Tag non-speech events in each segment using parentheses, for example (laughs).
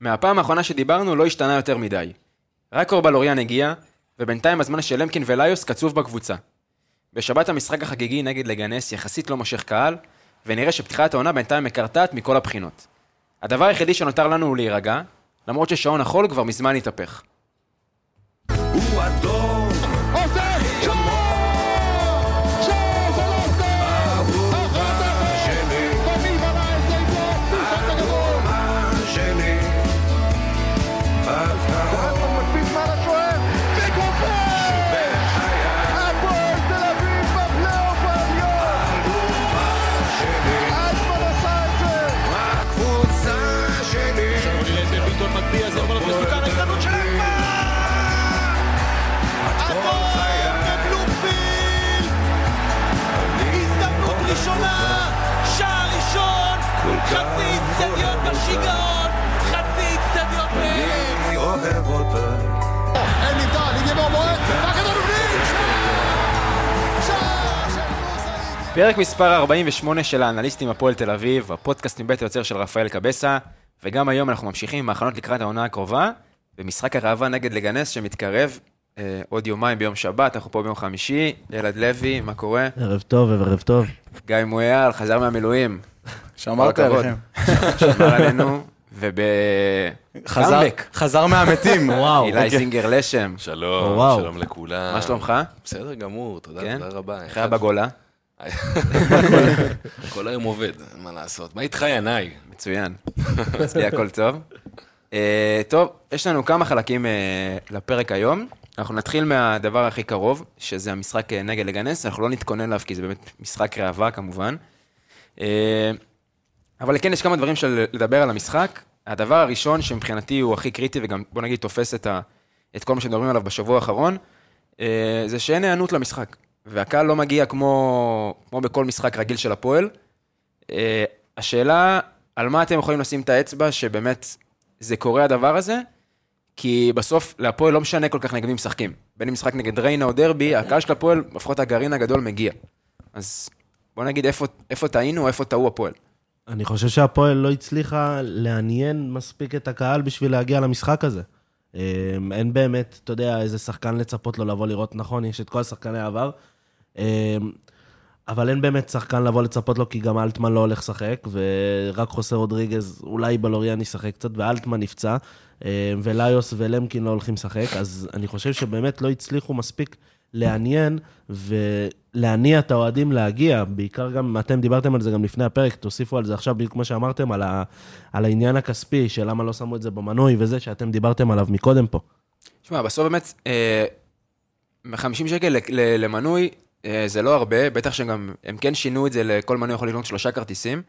מהפעם האחרונה שדיברנו לא השתנה יותר מדי. רק אורבלוריאן הגיע, ובינתיים הזמן של למקין וליוס קצוב בקבוצה. בשבת המשחק החגיגי נגד לגנס יחסית לא מושך קהל, ונראה שפתיחת העונה בינתיים מקרטעת מכל הבחינות. הדבר היחידי שנותר לנו הוא להירגע, למרות ששעון החול כבר מזמן התהפך. הוא אדום, עושה שור! שור של אוסטר! אחת אחת! שלי, חביב עלה את זה פה! פרצת הגדול! מה שלי, הוא מדפיס מעל השוער! וגופר! הפועל תל אביב בפלייאוף העליון! אלטמן עשה את זה! הקבוצה שלי, אדום בבלומפילד! הזדמנות ראשונה, שער ראשון, חצי איצטדיון בשיגעון, חצי איצטדיון בהלם. אני אוהב אותה, אין נבדל, הגיע מהמועד! והכדור בפנים! שער של קלוס! פרק מספר 48 של האנליסטים הפועל תל אביב, הפודקאסט מבית היוצר של רפאל קבסה, וגם היום אנחנו ממשיכים עם ההכנות לקראת העונה הקרובה, ומשחק הראווה נגד לגנס שמתקרב אה, עוד יומיים ביום שבת, אנחנו פה ביום חמישי, ילד לוי, מה קורה? ערב טוב, ערב טוב. גיא מויאל, חזר מהמילואים. שמרת כל הכבוד. עליכם. שמר עלינו, וב... חזר, קאמבק. חזר מהמתים, וואו. אילי זינגר לשם, שלום, וואו. שלום לכולם. מה שלומך? בסדר גמור, תודה, כן? תודה רבה. חיה בגולה, כל היום עובד, מה לעשות. מה איתך, ינאי? מצוין. (laughs) אצלי הכל טוב. אה, טוב, יש לנו כמה חלקים אה, לפרק היום. אנחנו נתחיל מהדבר הכי קרוב, שזה המשחק אה, נגד לגנס, אנחנו לא נתכונן אליו כי זה באמת משחק ראווה כמובן. אה, אבל כן, יש כמה דברים של לדבר על המשחק. הדבר הראשון שמבחינתי הוא הכי קריטי, וגם בוא נגיד תופס את, ה, את כל מה שמדברים עליו בשבוע האחרון, אה, זה שאין היענות למשחק. והקהל לא מגיע כמו, כמו בכל משחק רגיל של הפועל. אה, השאלה, על מה אתם יכולים לשים את האצבע שבאמת זה קורה הדבר הזה? כי בסוף להפועל לא משנה כל כך נגד מי משחקים. בין אם משחק נגד ריינה או דרבי, הקהל של הפועל, לפחות הגרעין הגדול מגיע. אז בוא נגיד איפה, איפה טעינו, איפה טעו הפועל. אני חושב שהפועל לא הצליחה לעניין מספיק את הקהל בשביל להגיע למשחק הזה. אמ, אין באמת, אתה יודע, איזה שחקן לצפות לו לבוא לראות, נכון, יש את כל שחקני העבר, אמ, אבל אין באמת שחקן לבוא לצפות לו, כי גם אלטמן לא הולך לשחק, ורק חוסר רודריגז, אולי בלוריאן ישחק קצת, ואלטמן נפצע, אמ, וליוס ולמקין לא הולכים לשחק, אז אני חושב שבאמת לא הצליחו מספיק לעניין ולהניע את האוהדים להגיע, בעיקר גם, אתם דיברתם על זה גם לפני הפרק, תוסיפו על זה עכשיו, בדיוק כמו שאמרתם, על, ה, על העניין הכספי, של למה לא שמו את זה במנוי וזה, שאתם דיברתם עליו מקודם פה. תשמע, בסוף באמת, אה, 50 שקל ל- ל- למנוי אה, זה לא הרבה, בטח שגם הם כן שינו את זה לכל מנוי יכול לקנות שלושה כרטיסים,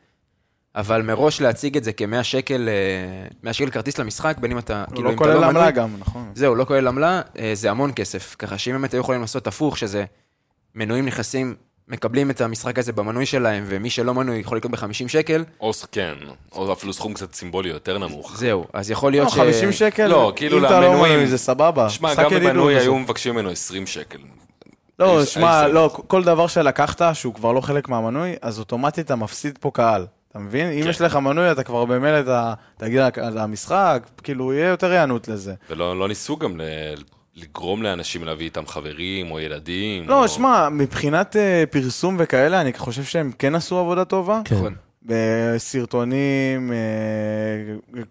אבל מראש להציג את זה כ-100 שקל, אה, 100 שקל כרטיס למשחק, בין אם אתה, כאילו, הוא לא אם אתה כולל מנוי- עמלה גם, נכון. זהו, לא כולל עמלה, אה, זה המון כסף. ככה שאם באמת היו יכולים לעשות הפוך, שזה מנויים נכנסים, מקבלים את המשחק הזה במנוי שלהם, ומי שלא מנוי יכול לקנות ב-50 שקל, או ס- כן, או אפילו סכום קצת סימבולי יותר נמוך. זהו. אז יכול להיות לא, ש... 50 שקל, לא, כאילו אם אתה לא למנויים. מנוי זה סבבה. שמע, משחק גם ידידות בבנוי וזה. היו מבקשים ממנו 20 שקל. לא, היו- שמע, היו- לא, כל דבר שלקחת, שהוא כבר לא חלק מהמנוי, אז אוטומטית אתה מפסיד פה קהל. אתה מבין? אם כן. יש לך מנוי, אתה כבר במילא אתה תגיע לק- למשחק, כאילו, יהיה יותר היענות לזה. ולא לא ניסו גם ל- לגרום לאנשים להביא איתם חברים או ילדים. לא, או- שמע, מבחינת אה, פרסום וכאלה, אני חושב שהם כן עשו עבודה טובה. נכון. בסרטונים, אה,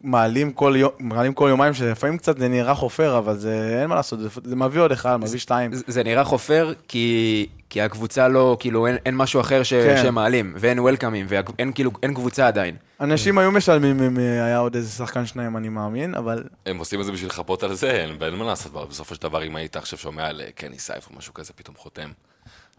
מעלים כל, יום, מעלים כל יומיים, שלפעמים קצת זה נראה חופר, אבל זה אין מה לעשות, זה, זה מביא עוד אחד, מביא שתיים. זה זה נראה חופר, כי, כי הקבוצה לא, כאילו, אין, אין משהו אחר ש, כן. שהם מעלים, ואין וולקאמים, ואין כאילו, אין קבוצה עדיין. אנשים היו משלמים אם אה, היה עוד איזה שחקן שניים, אני מאמין, אבל הם עושים את זה בשביל לחפות על זה, אין ואין מה לעשות. אבל בסופו של דבר, אם היית עכשיו שומע על אה, קני סייף או משהו כזה, פתאום חותם.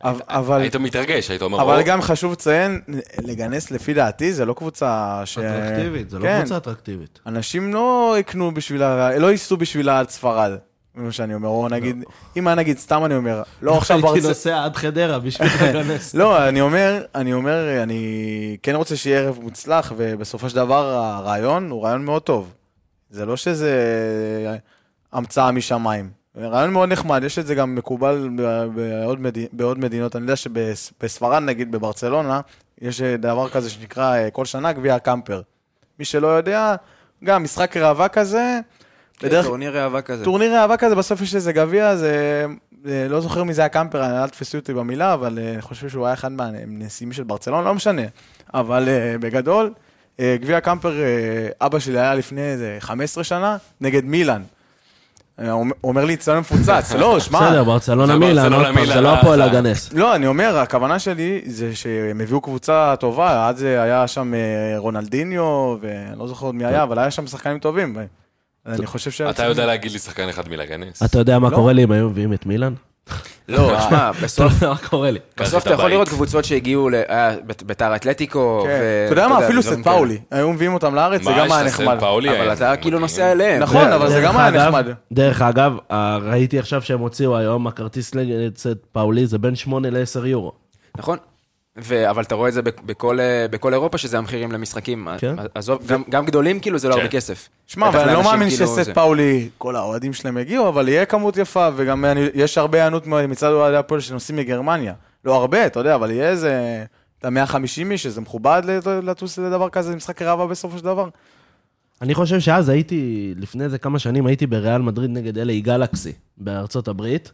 אבל, אבל, אה, היית מתרגש, היית אומר, אבל "או, גם חשוב לציין, לגנס לפי דעתי, זה לא קבוצה ש... אטרקטיבית, זה לא כן. קבוצה אטרקטיבית. אנשים לא יקנו בשביל, ה- לא ייסעו בשביל העד ספרד, זה מה שאני אומר, או נגיד, אם היה נגיד, סתם אני אומר, לא עכשיו לא. הייתי ברצלונה. נוסע עד חדרה בשביל להיכנס. לא, אני אומר, אני אומר, אני כן רוצה שיהיה ערב מוצלח, ובסופו של דבר הרעיון הוא רעיון מאוד טוב. זה לא שזה המצאה משמיים. רעיון מאוד נחמד, יש את זה גם מקובל ב- בעוד, מדי, בעוד מדינות. אני יודע שבספרד, נגיד בברצלונה, יש דבר כזה שנקרא אה, כל שנה גביע הקמפר. מי שלא יודע, גם משחק ראווה כזה, בדרך כלל טורניר ראווה כזה. טורניר ראווה כזה, בסוף יש איזה גביע, זה... אה, לא זוכר מי זה הקמפר, אל תפסו אותי במילה, אבל אה, אני חושב שהוא היה אחד מהנשיאים של ברצלון, לא משנה. אבל אה, בגדול, אה, גביע הקמפר, אה, אבא שלי היה לפני איזה 15 שנה, נגד מילאן. אה, הוא אומר לי, אצטדיון מפוצץ, לא, שמע. בסדר, ברצלונה זה מילאן, ברצלונה, עוד פעם, זה מילאן, לא הפועל אה, הגנס. לא, אני אומר, הכוונה שלי זה שהם הביאו קבוצה טובה, אז היה שם אה, רונלדיניו, ואני לא זוכר עוד מי היה, אבל היה שם שחקנים טובים. ו- אני חושב ש... אתה יודע להגיד לי שחקן אחד מלהיכנס? אתה יודע מה לא. קורה לי אם היו מביאים את מילאן? לא, אה, שמע, (laughs) אתה לא בסוף... יודע מה קורה לי. בסוף אתה יכול לראות קבוצות שהגיעו, ל- היה בית- ביתר אתלטיקו, כן. ו- אתה יודע מה, אפילו דברים סט פאולי, היו מביאים אותם לארץ, זה גם היה נחמד. כאלה. כן. אבל אתה כאילו נוסע אליהם. נכון, דרך- אבל זה דרך גם היה אגב- נחמד. דרך אגב, ה- ראיתי עכשיו שהם הוציאו היום, הכרטיס לצד פאולי זה בין 8 ל-10 יורו. נכון. ו- אבל אתה רואה את זה בכ- בכל, אה, בכל אירופה, שזה המחירים למשחקים. כן. אז- עזוב, גם- גם גדולים, כאילו, זה לא הרבה כסף. שמע, בטח אבל אני לא לאנשים מאמין כאילו שסט זה. פאולי, כל האוהדים שלהם יגיעו, אבל יהיה כמות יפה, וגם אני- יש הרבה היענות מצד אוהדי הפועל שנוסעים מגרמניה. לא הרבה, אתה יודע, אבל יהיה איזה... אתה 150 איש, שזה מכובד לט- לטוס לדבר כזה, משחק רבה בסופו של דבר. אני חושב שאז הייתי, לפני איזה כמה שנים, הייתי בריאל מדריד נגד LA גלקסי בארצות הברית,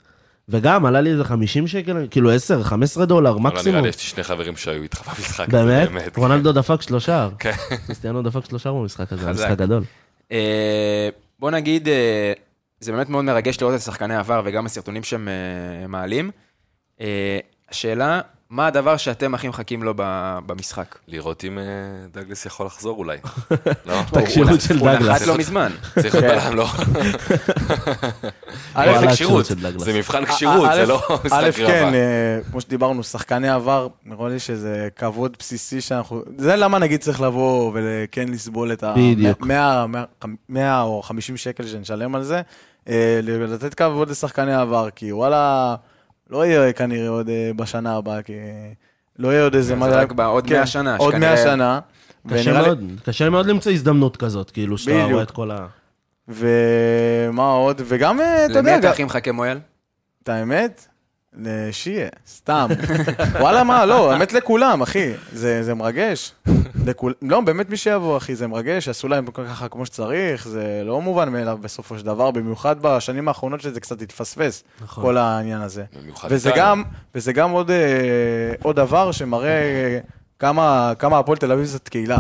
וגם עלה לי איזה 50 שקל, כאילו 10, 15 דולר מקסימום. נראה מקסימום. לי יש לי שני חברים שהיו איתך במשחק. הזה, באמת? כן. רונלדו דפק שלושה. כן. קריסטיאנו דפק שלושה במשחק הזה, היה חזק. משחק גדול. אה, בוא נגיד, אה, זה באמת מאוד מרגש לראות את שחקני העבר וגם הסרטונים שהם אה, מעלים. אה, השאלה, מה הדבר שאתם הכי מחכים לו ב- במשחק? לראות אם אה, דגלס יכול לחזור (laughs) אולי. לא? הכשירות של הוא נחת דגלס. לא מזמן. צריך להיות כן. בלם, לא? וואלה, א', זה כשירות. הכשירות של דגלס. זה מבחן כשירות, זה אה, א', לא א', משחק כן, רבה. אה, כמו שדיברנו, שחקני עבר, נראה לי שזה כבוד בסיסי שאנחנו... זה למה נגיד צריך לבוא וכן לסבול את ה... בדיוק. 100, 100 או 50 שקל שנשלם על זה, אה, לתת כבוד לשחקני עבר, כי וואלה, לא יהיה כנראה עוד אה, בשנה הבאה, כי לא יהיה עוד איזה... זה מדע- רק בעוד 100 כן, שנה, עוד 100 שכנראה- שנה. ונראה קשה לי- מאוד, קשה מאוד למצוא הזדמנות כזאת, כאילו, שאתה בדיוק. רואה את כל ה... ומה עוד? וגם, אה, אתה למי יודע... אתה גם- הכי מחכה, מואל? את האמת? לשיעה, סתם. (laughs) וואלה, מה, לא, האמת לכולם, אחי. זה, זה מרגש. לכול... לא, באמת מי שיבוא, אחי, זה מרגש, עשו להם ככה כמו שצריך, זה לא מובן מאליו בסופו של דבר, במיוחד בשנים האחרונות שזה קצת התפספס, נכון. כל העניין הזה. במיוחד וזה איתנו. גם, וזה גם עוד, אה, עוד דבר שמראה אה, כמה, כמה הפועל תל אביב זאת קהילה.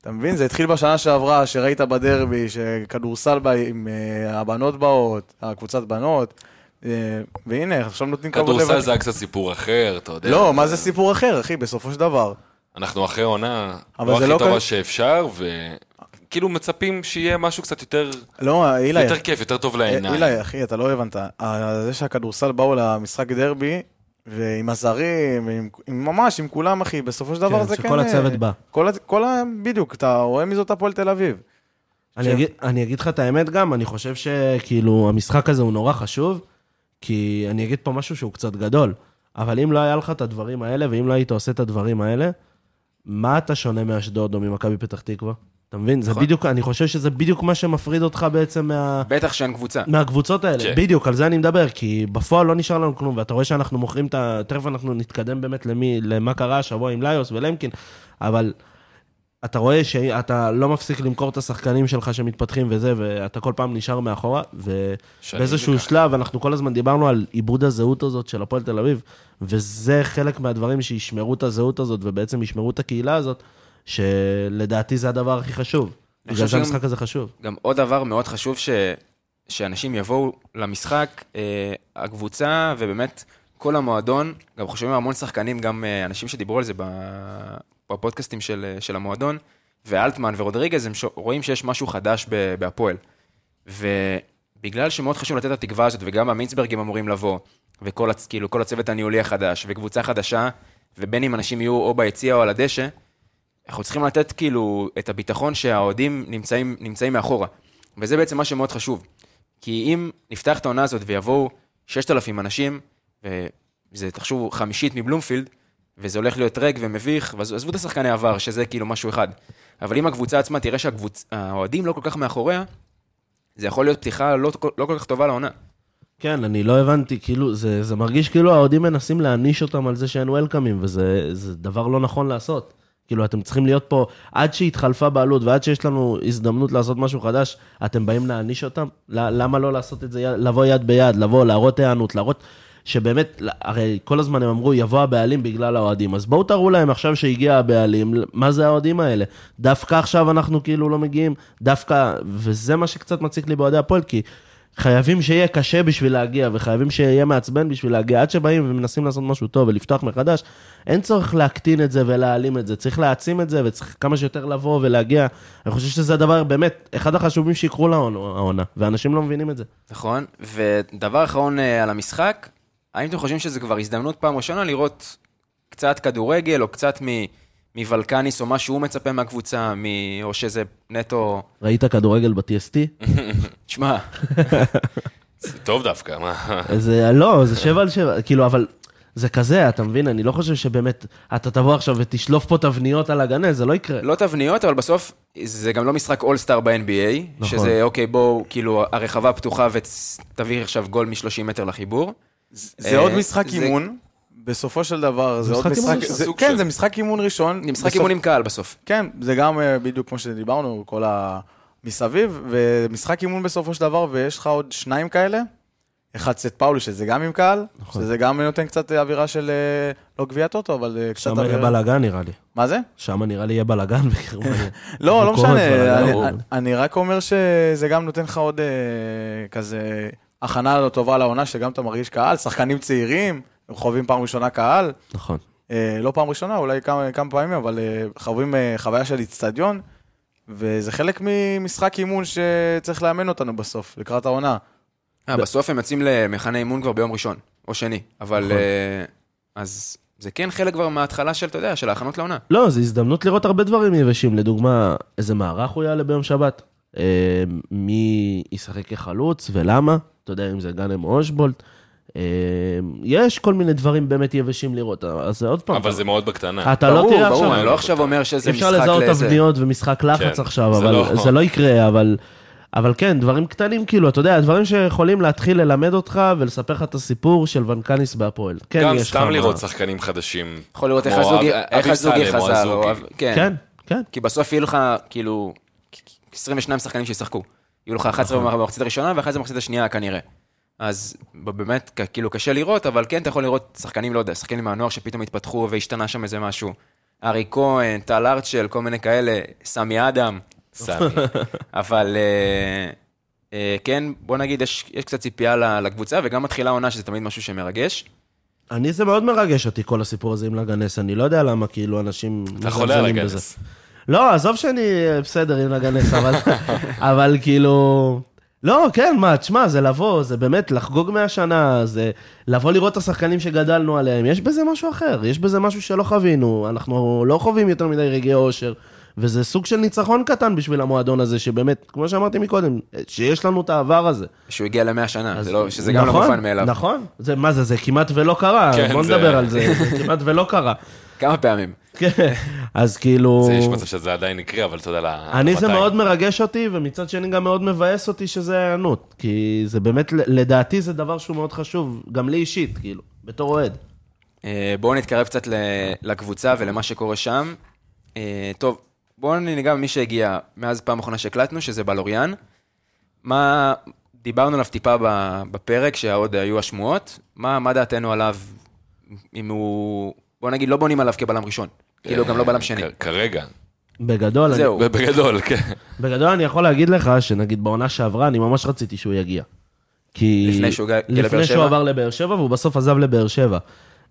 אתה מבין? זה התחיל בשנה שעברה, שראית בדרבי, שכדורסל בא עם אה, הבנות באות, הקבוצת בנות, אה, והנה, עכשיו נותנים כבוד כדורסל לבד- זה היה קצת סיפור אחר, אתה יודע. לא, מה זה סיפור אחר, אחי, בסופו של דבר. אנחנו אחרי עונה, אבל לא זה הכי לא טובה כזה- שאפשר, וכאילו מצפים שיהיה משהו קצת יותר לא, אילי, אה, יותר כיף, יותר טוב לעיניים. אילי, אחי, אתה לא הבנת. ה- זה שהכדורסל באו למשחק דרבי, ועם הזרים, ועם- עם- ממש, עם כולם, אחי, בסופו של דבר כן, זה כן... שכל אה, הצוות בא. כל, ה- כל ה... בדיוק, אתה רואה מי זאת הפועל תל אביב. אני אגיד- אני אגיד לך את האמת גם, אני חושב שכאילו המשחק הזה הוא נורא חשוב, כי אני אגיד פה משהו שהוא קצת גדול, אבל אם לא היה לך את הדברים האלה, ואם לא היית עושה את הדברים האלה, מה אתה שונה מאשדוד או ממכבי פתח תקווה? אתה מבין? זה נכון. בדיוק, אני חושב שזה בדיוק מה שמפריד אותך בעצם מה... בטח שאין קבוצה. מהקבוצות האלה, כן. בדיוק, על זה אני מדבר, כי בפועל לא נשאר לנו כלום, ואתה רואה שאנחנו מוכרים את ה... תכף אנחנו נתקדם באמת למי, למה קרה השבוע עם ליוס ולמקין, אבל אתה רואה שאתה לא מפסיק למכור את השחקנים שלך שמתפתחים וזה, ואתה כל פעם נשאר מאחורה, ובאיזשהו וכך. שלב, אנחנו כל הזמן דיברנו על עיבוד הזהות הזאת של הפועל תל אביב, וזה חלק מהדברים שישמרו את הזהות הזאת, ובעצם ישמרו את הקהילה הזאת, שלדעתי זה הדבר הכי חשוב. אני חושב בגלל זה שגם- המשחק הזה חשוב. גם עוד דבר מאוד חשוב, ש... שאנשים יבואו למשחק, אה, הקבוצה ובאמת כל המועדון, גם חושבים על המון שחקנים, גם אה, אנשים שדיברו על זה ב- בפודקאסטים של, אה, של המועדון, ואלטמן ורודריגז, הם ש... רואים שיש משהו חדש ב- בהפועל. ובגלל שמאוד חשוב לתת את התקווה הזאת, וגם המינצברגים אמורים לבוא, וכל הצ... כאילו, כל הצוות הניהולי החדש, וקבוצה חדשה, ובין אם אנשים יהיו או ביציע או על הדשא, אנחנו צריכים לתת כאילו את הביטחון שהאוהדים נמצאים, נמצאים מאחורה. וזה בעצם מה שמאוד חשוב. כי אם נפתח את העונה הזאת ויבואו 6,000 אנשים, וזה, תחשבו, חמישית מבלומפילד, וזה הולך להיות ריק ומביך, ואז עזבו את השחקני עבר, שזה כאילו משהו אחד. אבל אם הקבוצה עצמה תראה שהאוהדים לא כל כך מאחוריה, זה יכול להיות פתיחה לא, לא כל כך טובה לעונה. כן, אני לא הבנתי, כאילו, זה, זה מרגיש כאילו האוהדים מנסים להעניש אותם על זה שאין וולקאמים, וזה זה דבר לא נכון לעשות. כאילו, אתם צריכים להיות פה, עד שהתחלפה בעלות ועד שיש לנו הזדמנות לעשות משהו חדש, אתם באים להעניש אותם? ל- למה לא לעשות את זה, יד- לבוא יד ביד, לבוא, להראות היענות, להראות... שבאמת, הרי כל הזמן הם אמרו, יבוא הבעלים בגלל האוהדים. אז בואו תראו להם עכשיו שהגיע הבעלים, מה זה האוהדים האלה? דווקא עכשיו אנחנו כאילו לא מגיעים, דווקא... וזה מה שקצת מציק לי באוהדי הפועל, כי חייבים שיהיה קשה בשביל להגיע, וחייבים שיהיה מעצבן בשביל להגיע, עד שבאים ומנסים לעשות משהו טוב ולפתוח מחדש. אין צורך להקטין את זה ולהעלים את זה, צריך להעצים את זה, וצריך כמה שיותר לבוא ולהגיע. אני חושב שזה הדבר, באמת, אחד החשובים שיקרו לעונה, ואנשים לא מבינים את זה. נכון, ודבר אחרון אה, על המשחק, האם אתם חושבים שזו כבר הזדמנות פעם ראשונה לראות קצת כדורגל, או קצת מ- מוולקניס, או מה שהוא מצפה מהקבוצה, מ- או שזה נטו... ראית כדורגל (laughs) ב-TST? שמע, זה טוב דווקא, מה? זה, לא, זה שבע על שבע, כאילו, אבל זה כזה, אתה מבין? אני לא חושב שבאמת, אתה תבוא עכשיו ותשלוף פה תבניות על הגנה, זה לא יקרה. לא תבניות, אבל בסוף זה גם לא משחק אולסטאר ב-NBA, נכון. שזה אוקיי, בואו, כאילו, הרחבה פתוחה ותביא עכשיו גול מ-30 מטר לחיבור. זה עוד אה, משחק זה- אימון, בסופו של דבר, זה עוד משחק אימון משחק... ראשון. זה- סוג כן, של- זה משחק אימון ראשון. זה משחק בסופ- אימון עם קהל בסוף. כן, זה גם אה, בדיוק כמו שדיברנו, כל ה... מסביב, ומשחק אימון בסופו של דבר, ויש לך עוד שניים כאלה, אחד סט פאולי, שזה גם עם קהל, שזה גם נותן קצת אה, אווירה של, אה, לא גביע טוטו, אבל אה, קצת שם יהיה אווירה... בלאגן נראה לי. מה זה? שם נראה לי יהיה בלאגן בגרמניה. (laughs) לא, לא ביקורת משנה, בלאגן. אני- ברור. אני- אני רק אומר שזה גם נותן לך עוד אה, כזה הכנה לא טובה לעונה, שגם אתה מרגיש קהל, שחקנים צעירים, הם חווים פעם ראשונה קהל, נכון. אה, לא פעם ראשונה, אולי כמה, כמה פעמים, אבל אה, חווים אה, חוויה של איצטדיון, וזה חלק ממשחק אימון שצריך לאמן אותנו בסוף, לקראת העונה. אה, בסוף הם יוצאים למחנה אימון כבר ביום ראשון, או שני, אבל... אה, אז זה כן חלק כבר מההתחלה של, אתה יודע, של ההכנות לעונה. לא, זו הזדמנות לראות הרבה דברים יבשים. לדוגמה, איזה מערך הוא יעלה ביום שבת. אה, מי ישחק כחלוץ ולמה? אתה יודע, אם זה גאנם או אושבולט. אה, יש כל מיני דברים באמת יבשים לראות, אז זה עוד פעם. אבל זה מאוד בקטנה. אתה לא תראה ברור, עכשיו... אני לא עכשיו אומר שזה משחק אפשר לזהות לאיזה- תבניות ומשחק לחץ כן, עכשיו, זה אבל לא- זה לא יקרה, אבל... אבל כן, דברים קטנים, כאילו, אתה יודע, דברים שיכולים להתחיל ללמד אותך ולספר לך את הסיפור של ונקניס בהפועל. כן, גם יש לך סתם מה- לראות שחקנים חדשים. יכול לראות איך כמו הזוגי- אב- איך אביב הזוגי סלם או חזר. או הזוגי. אב- כן. כן, כן. כי בסוף יהיו לך, כאילו, 22 שחקנים שישחקו. יהיו לך 11 נכון. במחצית הראשונה ו-11 במחצית השנייה כנראה. אז ב- באמת, כ- כאילו, קשה לראות, אבל כן, אתה יכול לראות שחקנים, לא יודע, שחקנים מהנוער שפתאום התפתחו והשתנה שם איזה משהו. ארי כהן, טל ארצ'ל, כל מיני כאלה, סמי אדם. (laughs) סמי. אבל אה, אה, כן, בוא נגיד, יש, יש קצת ציפייה ל- לקבוצה, וגם מתחילה עונה, שזה תמיד משהו שמרגש. אני, זה מאוד מרגש אותי, כל הסיפור הזה עם לגנס, אני לא יודע למה, כאילו, אנשים... אתה חולה על מזלזלים בזה. הגנס. לא, עזוב שאני בסדר עם לגנס, אבל, (laughs) אבל כאילו... לא, כן, מה, תשמע, זה לבוא, זה באמת לחגוג 100 שנה, זה לבוא לראות את השחקנים שגדלנו עליהם, יש בזה משהו אחר, יש בזה משהו שלא חווינו, אנחנו לא חווים יותר מדי רגעי אושר, וזה סוג של ניצחון קטן בשביל המועדון הזה, שבאמת, כמו שאמרתי מקודם, אה, שיש לנו את העבר הזה. שהוא הגיע למאה שנה, אז- זה לא, שזה גם נכון, לא מובן מאליו. נכון, זה, מה זה, זה כמעט ולא קרה, כן, בוא זה- נדבר על זה, זה כמעט ולא (laughs) קרה. כמה פעמים. כן, אז כאילו... זה יש מצב שזה עדיין יקרה, אבל אתה יודע, ל- אני זה מתי. מאוד מרגש אותי, ומצד שני גם מאוד מבאס אותי שזה הענות. כי זה באמת, לדעתי זה דבר שהוא מאוד חשוב, גם לי אישית, כאילו, בתור אוהד. אה, בואו נתקרב קצת ל- לקבוצה ולמה שקורה שם. אה, טוב, בואו ניגע במי שהגיע מאז פעם אחרונה שהקלטנו, שזה בלוריאן. מה, דיברנו עליו טיפה ב- בפרק, שעוד היו השמועות. מה, מה דעתנו עליו, אם הוא... בוא נגיד, לא בונים עליו כבלם ראשון. כאילו, גם לא בלם שני. כ- כרגע. בגדול, אני, זהו. בגדול, כן. בגדול אני יכול להגיד לך, שנגיד בעונה שעברה, אני ממש רציתי שהוא יגיע. כי... לפני שהוא הגיע לבאר לפני שהוא שבע? עבר לבאר שבע, והוא בסוף עזב לבאר שבע.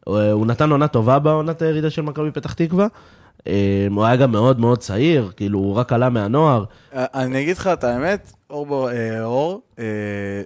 אה, הוא נתן עונה טובה בעונת הירידה של מכבי פתח תקווה. אה, הוא היה גם מאוד מאוד צעיר, כאילו, הוא רק עלה מהנוער. אה, אני אגיד לך את האמת, אור, ב- אה, אור אה,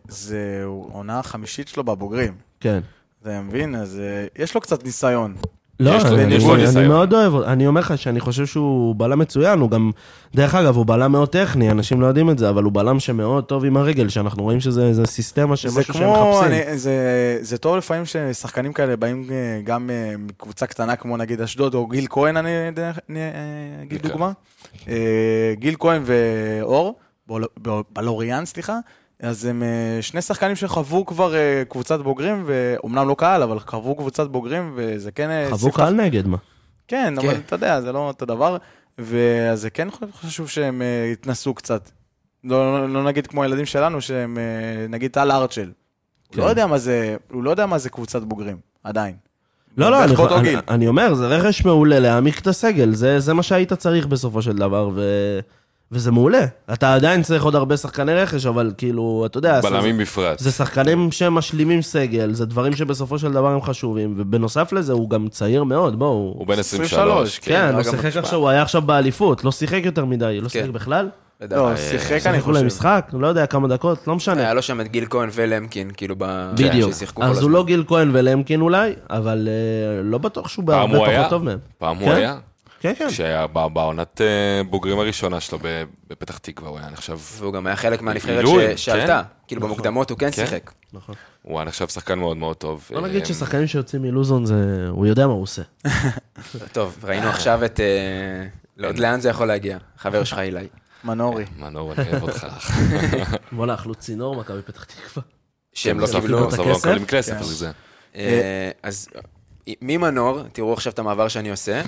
זה עונה חמישית שלו בבוגרים. כן. אתה מבין? אז אה, יש לו קצת ניסיון. לא, יש לו- אני, יש לו אני, ניסיון. אני מאוד אוהב, אני אומר לך שאני חושב שהוא בלם מצוין, הוא גם, דרך אגב, הוא בלם מאוד טכני, אנשים לא יודעים את זה, אבל הוא בלם שמאוד טוב עם הרגל, שאנחנו רואים שזה זה סיסטמה של זה משהו שהם כמו, מחפשים. אני, זה, זה טוב לפעמים ששחקנים כאלה באים אה, גם אה, מקבוצה קטנה כמו נגיד אשדוד או גיל כהן, אני דרך- אני, אה, אגיד בעיקר. דוגמה. אה, גיל כהן ואור, בול- ב- בלוריאן סליחה, אז הם אה, שני שחקנים שחוו כבר אה, קבוצת בוגרים, ואומנם לא קהל, אבל חוו קבוצת בוגרים, וזה כן... אה, חוו ספתח- קהל נגד, מה? כן, אבל כן. אתה יודע, זה לא אותו דבר, וזה כן חשוב שהם אה, יתנסו קצת. לא, לא, לא נגיד כמו הילדים שלנו, שהם, אה, נגיד טל ארצ'ל. הוא כן. לא יודע מה זה, הוא לא יודע מה זה קבוצת בוגרים, עדיין. לא, לא, אני, בערך באותו אני, גיל. אני אומר, זה רכש מעולה להעמיק את הסגל, זה, זה מה שהיית צריך בסופו של דבר, ו, וזה מעולה. אתה עדיין צריך עוד הרבה שחקני רכש, אבל כאילו, אתה יודע... בלמים זה, בפרט. זה שחקנים שמשלימים סגל, זה דברים שבסופו של דבר הם חשובים, ובנוסף לזה הוא גם צעיר מאוד, בואו. הוא בן 23. 23, כן, הוא גם שיחק במשפט. עכשיו, הוא היה עכשיו באליפות, לא שיחק יותר מדי, לא כן. שיחק בכלל? לדעתי. אה, לא, שיחק אני שיחקו להם חושב. משחק, לא יודע כמה דקות, לא משנה. היה לו שם את גיל כהן ולמקין, כאילו, ב... בדיוק. ששיחקו כל אז הוא הזמן. לא גיל כהן ולמקין אולי, אבל אה, לא בטוח שהוא פעם בהרבה הוא היה? פחות טוב מהם. פעם הוא כן? היה? כן, כן. כשהיה בא- בעונת אה, בוגרים הראשונה שלו ב- בפתח תקווה, הוא היה נחשב, והוא גם היה חלק מהנבחרת עילוי, כן. ש- שעלתה. כאילו, במוקדמות הוא כן כן. שיחק. הוא היה נחשב שחקן מאוד מאוד טוב. נכון. בוא אה, נגיד ששחקנים שיוצאים מלוזון, זה... הוא יודע מה הוא עושה. טוב, ראינו עכשיו את... אה, לא, עוד לאן זה יכול להגיע? חבר שלך אילי. כן, מנורי. מנור, אני אוהב אותך. בוא לאכלו צינור, מכבי פתח תקווה. שהם לא בסוף- קיבלו... בסוף לא הכסף? מקבלים כסף, אז זה. אה, אז ממנור, תראו עכשיו את המעבר שאני עושה.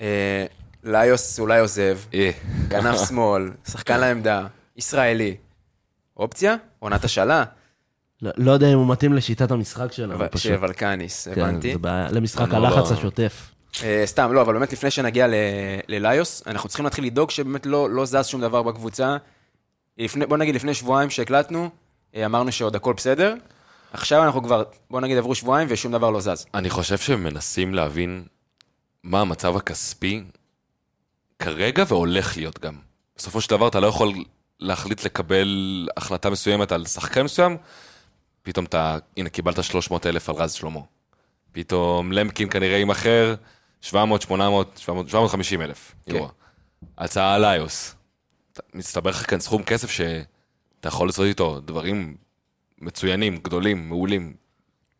אה, ליוס אולי עוזב, אה, כנף שמאל, שחקן לעמדה, ישראלי. אופציה? עונת השאלה? לא לא יודע אם הוא מתאים לשיטת המשחק שלנו, אבל- פשוט. של ולקניס, כן, הבנתי. זה בעיה. למשחק לא, לא. הלחץ השוטף. אה, סתם, לא, אבל באמת לפני שנגיע ל- לליוס, אנחנו צריכים להתחיל לדאוג שבאמת לא לא זז שום דבר בקבוצה. לפני- בוא נגיד, לפני שבועיים שהקלטנו, אה, אמרנו שעוד הכל בסדר. עכשיו אנחנו כבר, בוא נגיד, עברו שבועיים ושום דבר לא זז. אני חושב שהם מנסים להבין מה המצב הכספי כרגע והולך להיות גם. בסופו של דבר אתה לא יכול להחליט לקבל החלטה מסוימת על שחקן מסוים, פתאום אתה, הנה קיבלת 300 אלף על רז שלמה. פתאום למקין כנראה יימכר 700, 800, 700, 750 אלף. כן. יורו. הצעה על איוס. אתה- מצטבר לך כאן סכום כסף שאתה יכול לעשות איתו דברים מצוינים, גדולים, מעולים.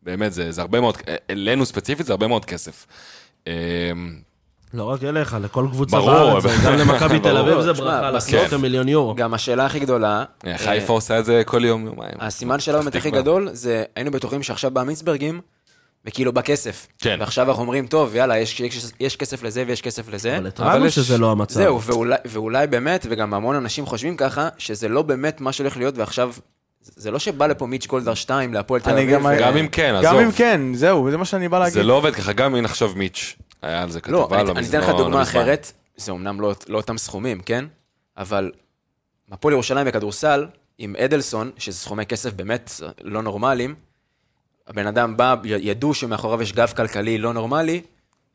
באמת, זה, זה הרבה מאוד, אלינו ספציפית זה הרבה מאוד כסף. אמ, לא רק אליך, לכל קבוצה ברור, בארץ, אבל- כן. גם (laughs) למכבי תל אביב ברור. זה תשמע, ברכה בסוף- לעשות מיליון יורו. גם השאלה הכי גדולה... אה, חיפה עושה את זה כל יום, יומיים. הסימן שלנו באמת הכי תקווה. גדול, זה היינו בטוחים שעכשיו בא מינסברגים, וכאילו בכסף. כן. ועכשיו אנחנו אומרים, טוב, יאללה, יש, יש, יש כסף לזה ויש כסף לזה. אבל התרענו יש- שזה לא המצב. זהו, ואולי, ואולי באמת, וגם המון אנשים חושבים ככה, שזה לא באמת מה שהולך להיות, ועכשיו, זה לא שבא לפה מיץ' גולדהר 2 להפועל תל אני אביב. גם- ו- גם אם כן, עזוב. גם אם כן, זהו, זה מה שאני בא להגיד. זה לא עובד ככה, גם אם נחשוב מיץ', היה על זה כתבה, לא, לא אני, אני אתן לך מזמן, דוגמה לא מזמן. אחרת, זה אמנם לא, לא אותם סכומים, כן? אבל הפועל ירושלים בכדורסל, עם אדלסון, שזה סכומי כסף באמת לא נורמליים, הבן אדם בא, י- ידעו שמאחוריו יש גב כלכלי לא נורמלי,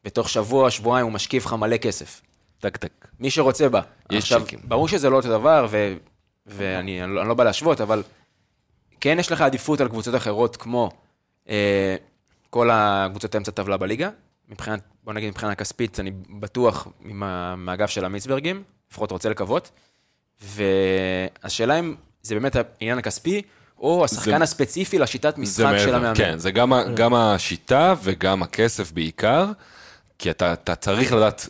בתוך שבוע, שבועיים הוא משקיף לך מלא כסף. טק טק. מי שרוצה בה. יש עכשיו, צ'קים. ברור שזה לא אותו דבר, ו... ואני אני לא, אני לא בא להשוות, אבל כן יש לך עדיפות על קבוצות אחרות, כמו אה, כל הקבוצות אמצע טבלה בליגה. מבחינת, בוא נגיד, מבחינה כספית, אני בטוח עם ה- מהאגף של המיצברגים, לפחות רוצה לקוות. והשאלה אם זה באמת העניין הכספי, או השחקן זה- הספציפי לשיטת זה משחק של מעבר, המאמן. אה. כן, זה גם ה- גם השיטה וגם הכסף בעיקר, כי אתה אתה צריך לדעת,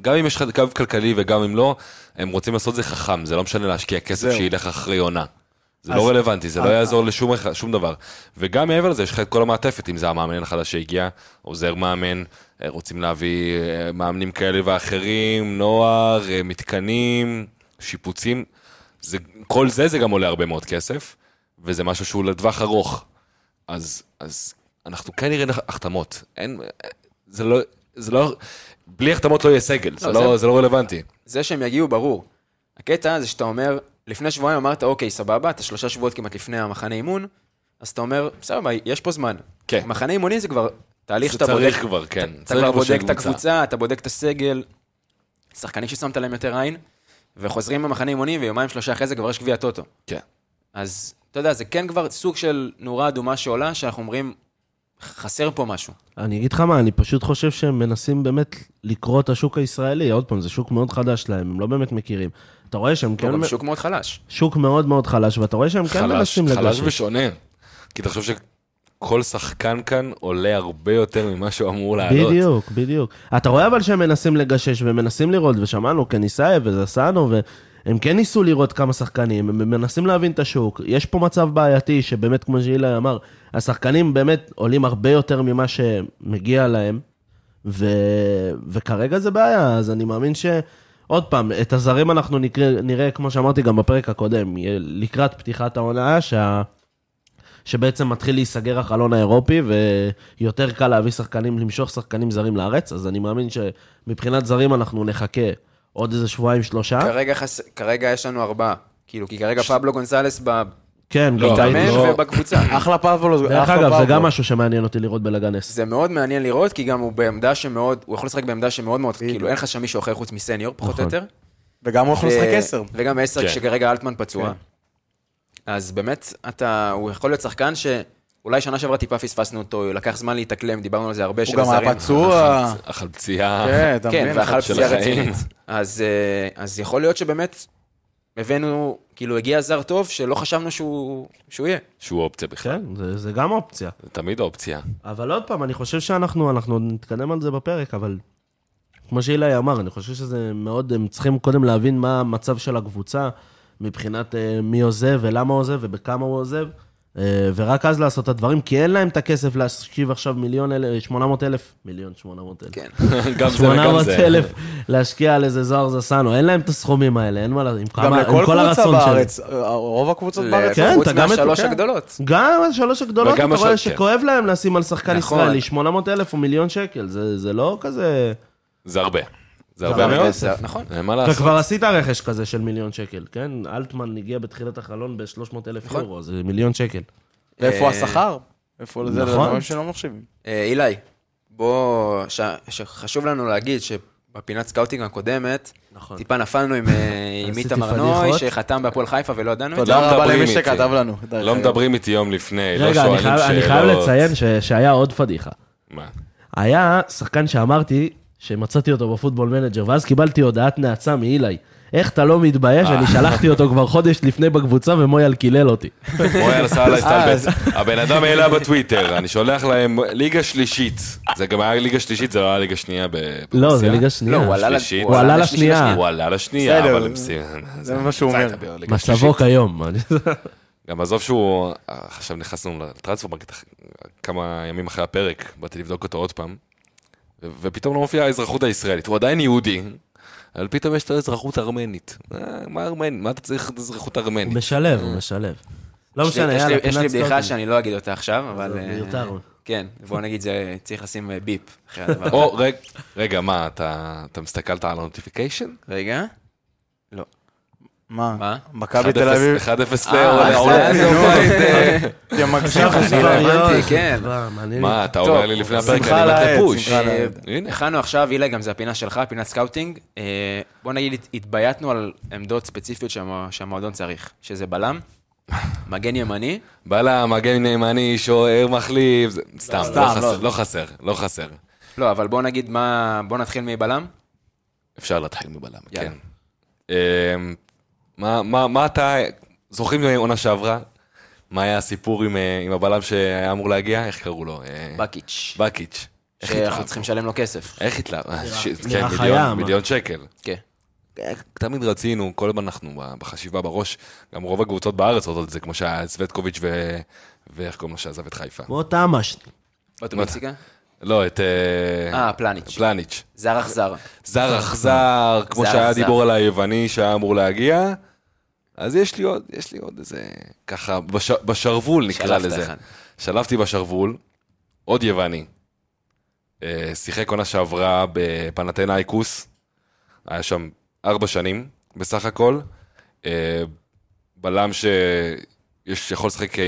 גם אם יש לך קו כלכלי וגם אם לא, הם רוצים לעשות את זה חכם, זה לא משנה להשקיע כסף זהו. שילך אחרי עונה. זה אז- לא רלוונטי, זה לא אה. אז- יעזור לשום אחד- שום דבר. וגם מעבר לזה, יש לך את כל המעטפת, אם זה המאמן החדש שהגיע, עוזר מאמן, אה, רוצים להביא אה, מאמנים כאלה ואחרים, נוער, אה, מתקנים, שיפוצים. זה, כל זה, זה גם עולה הרבה מאוד כסף, וזה משהו שהוא לטווח ארוך. אז, אז אנחנו כן נראה נח- החתמות. אין, אה, זה לא, זה לא, בלי החתמות לא יהיה סגל, זה, לא, לא, זה- זה... לא רלוונטי. זה שהם יגיעו, ברור. הקטע זה שאתה אומר, לפני שבועיים אמרת, אוקיי, סבבה, אתה שלושה שבועות כמעט לפני המחנה אימון, אז אתה אומר, סבבה, יש פה זמן. כן. מחנה אימונים זה כבר תהליך זה שאתה בודק... צריך כבר, כן. אתה צריך כבר כבר שיהיה בודק את קבוצה. הקבוצה, אתה בודק את הסגל, שחקנים ששמת להם יותר עין, וחוזרים במחנה אימונים, ויומיים שלושה אחרי זה כבר יש גביע טוטו. כן. אז, אתה יודע, זה כן כבר סוג של נורה אדומה שעולה, שאנחנו אומרים, חסר פה משהו. אני אגיד לך מה, אני פשוט חושב שהם מנסים באמת לקרוא את השוק הישראלי. עוד פעם, זה שוק מאוד חדש להם, הם לא באמת מכירים. אתה רואה שהם הוא כן... לא, גם שוק מאוד חלש. שוק מאוד מאוד חלש, ואתה רואה שהם כן חלש, מנסים חלש לגשת. ושונה. כי תחשוב שכל שחקן כאן עולה הרבה יותר ממה שהוא אמור לעלות. בדיוק, בדיוק. אתה רואה אבל שהם מנסים לגשש ומנסים לראות, ושמענו קניסאי וזסנו, והם כן ניסו לראות כמה שחקנים, הם מנסים להבין את השוק. יש פה מצב בעייתי שבאמת, כמו שאילן אמר, השחקנים באמת עולים הרבה יותר ממה שמגיע להם, ו... וכרגע זה בעיה, אז אני מאמין ש... עוד פעם, את הזרים אנחנו נקרא, נראה, כמו שאמרתי גם בפרק הקודם, יהיה לקראת פתיחת העונה, שה... שבעצם מתחיל להיסגר החלון האירופי, ויותר קל להביא שחקנים, למשוך שחקנים זרים לארץ, אז אני מאמין שמבחינת זרים אנחנו נחכה עוד איזה שבועיים, שלושה. כרגע, חס... כרגע יש לנו ארבעה. כאילו, כי כרגע פבלו גונסלס בהתאמן כן, לא, גם ראיתי. לא. ובקבוצה. אחלה פבלו, דרך אחלה אגב, זה פבלו. גם משהו שמעניין אותי לראות בלגנס. זה מאוד מעניין לראות, כי גם הוא בעמדה שמאוד, הוא יכול לשחק בעמדה שמאוד מאוד, כאילו, אין לך שם מישהו אחר חוץ מסניור, פחות או נכון. יותר. וגם הוא יכול אה, לשחק ו- עשר. וגם עשר, כן. כשכרגע אלטמן פצוע. אז באמת, אתה, הוא יכול להיות שחקן שאולי שנה שעברה טיפה פספסנו אותו, לקח זמן להתאקלם, דיברנו על זה הרבה, הוא של גם היה הזרים. פצוע. החלצייה. כן, אתה כן, מבין? ואכל אה, של פציעה החיים. רצינית. אז, אה, אז יכול להיות שבאמת הבאנו, כאילו, הגיע זר טוב, שלא חשבנו שהוא שהוא יהיה. שהוא אופציה בכלל. כן, זה, זה גם אופציה. כן. זה תמיד אופציה. (laughs) אבל עוד פעם, אני חושב שאנחנו, אנחנו עוד נתקדם על זה בפרק, אבל כמו שאילי אמר, אני חושב שזה מאוד, הם צריכים קודם להבין מה המצב של הקבוצה, מבחינת אה, מי עוזב ולמה עוזב ובכמה הוא עוזב, אה, ורק אז לעשות את הדברים, כי אין להם את הכסף להשיב עכשיו מיליון, אל- 800 אלף, מיליון 800 אלף. כן. גם זה וגם 800 זה. אלף להשקיע על איזה זוהר זסנו, אין להם את הסכומים האלה, אין מה לעשות, עם גם כמה- עם לכל כל קבוצה הרצון שלי. בארץ, אה, רוב הקבוצות אה, בארץ. כן, חוץ אתה גם את- מהשלוש כן. הגדולות. גם השלוש הגדולות, וגם אתה רואה השל- כן. שכואב להם לשים על שחקן נכון. ישראלי 800 אלף או מיליון שקל, זה זה לא כזה... זה הרבה. זה הרבה מאוד. זה- נכון. אין מה אתה לעשות. כבר עשית רכש כזה של מיליון שקל, כן? אלטמן הגיע בתחילת החלון ב-300 אלף נכון. יורו, זה מיליון שקל. ואיפה אה, השכר? איפה זה? זה נכון. דברים שלא מחשיבים. אה, אילי, בוא, ש- שחשוב לנו להגיד שבפינת סקאוטינג הקודמת, נכון. טיפה נפלנו עם, (laughs) אה, עם עשיתי איתמר נוי, פדיחות. שחתם בהפועל חיפה ולא ידענו את זה. תודה רבה מדברים למי איתי. שכתב לנו. לא מדברים איתי יום לפני, לא אה, רגע, אני שואלים חייב- שאלות. אני חייב לציין ש- שהיה עוד פדיחה. מה? היה שחקן שאמרתי שמצאתי אותו בפוטבול מנג'ר, ואז קיבלתי הודעת נאצה מאילי. איך אתה לא מתבייש? אני שלחתי אותו כבר חודש לפני בקבוצה ומויאל קילל אותי. מויאל עשה עליי אה, סטלבט. הבן אדם העלה בטוויטר, אני שולח להם ליגה שלישית. זה גם היה ליגה שלישית, זה לא היה ליגה שנייה בפרסיה. לא, זה ליגה אה. לא, שנייה. הוא (laughs) עלה שלישית. לשלישית. הוא עלה לשלישית לשנייה. הוא עלה לשנייה, בסדר, לא אבל הם סי- זה מה שהוא אומר. ליגה מצבו שלישית. כיום. גם עזוב שהוא, אה, עכשיו נכנסנו לטרנספורט מרקט אח- כמה ימים אחרי הפרק, באתי לבדוק אותו עוד פעם, ו- ופתאום לא מופיעה האזרחות הישראלית, הוא עדיין יהודי, אבל פתאום יש לו אזרחות ארמנית. אה, מה ארמנית? מה אתה צריך את אזרחות הוא ארמנית? משלב, הוא משלב. לא כן. יש לי- משנה, יש לי- יאללה, יש לי פינת בדיחה סקאוטינג. שאני לא אגיד אותה עכשיו, אבל... זה אה, מיותר. כן, בוא נגיד, זה צריך לשים אה, ביפ אחרי הדבר הזה. או, רג- רגע, מה, אתה אתה מסתכלת על הנוטיפיקיישן? רגע. מה? מה? מכבי תל אביב. 1-0 כן, אה, (laughs) לאורלנדו אורלנדו אה, פייטר. יא מגזים. עכשיו אני לא הבנתי, זה כן. כבר מעניין. אה, מה, אתה טוב, אומר לי לפני הפרק, שמחה אני מת לאיד, לפוש. שמחה לאיד. הנה. הכנו עכשיו, הילה, גם זה הפינה שלך, פינת סקאוטינג. אה, בוא נגיד, הת- התבייתנו על עמדות ספציפיות שהמוע- שהמועדון צריך, שזה בלם, מגן ימני, בלם, מגן ימני, שוער, מחליף, זה- סתם, סתם, לא לא. חסר, לא חסר, לא חסר. לא, אבל בוא נגיד מה... בוא נתחיל מבלם. אפשר להתחיל מבלם, יאללה. כן. אמ, מה- מה מה אתה, זוכרים מעונה שעברה? מה היה הסיפור עם, אה, עם הבלם שהיה אמור להגיע? איך קראו לו? אה, בקיץ', בקיץ'. איך שאנחנו התלהב? צריכים לשלם לו כסף. איך התלהב? אה, שיט, נראה כן, חיה, מיליון- מה? מיליון שקל. כן. תמיד רצינו, כל הזמן אנחנו בחשיבה בראש, גם רוב הקבוצות בארץ רוצות את זה, כמו שהיה סווטקוביץ' ו... ואיך קוראים לו שעזב את חיפה. כמו תמ"ש. אוטומטיקה? לא, את... אה, אה, פלניץ'. פלניץ'. זר אכזר. זר אכזר, כמו זר שהיה אכזר. דיבור על היווני שהיה אמור להגיע, אז יש לי עוד, יש לי עוד איזה... ככה, בש, בשרוול נקרא שלפת לזה. אחד. שלפתי בשרוול, עוד יווני. אה, שיחק עונה שעברה בפנתנאיקוס, היה שם ארבע שנים בסך הכל. אה, בלם ש... יש, יכול לשחק אה,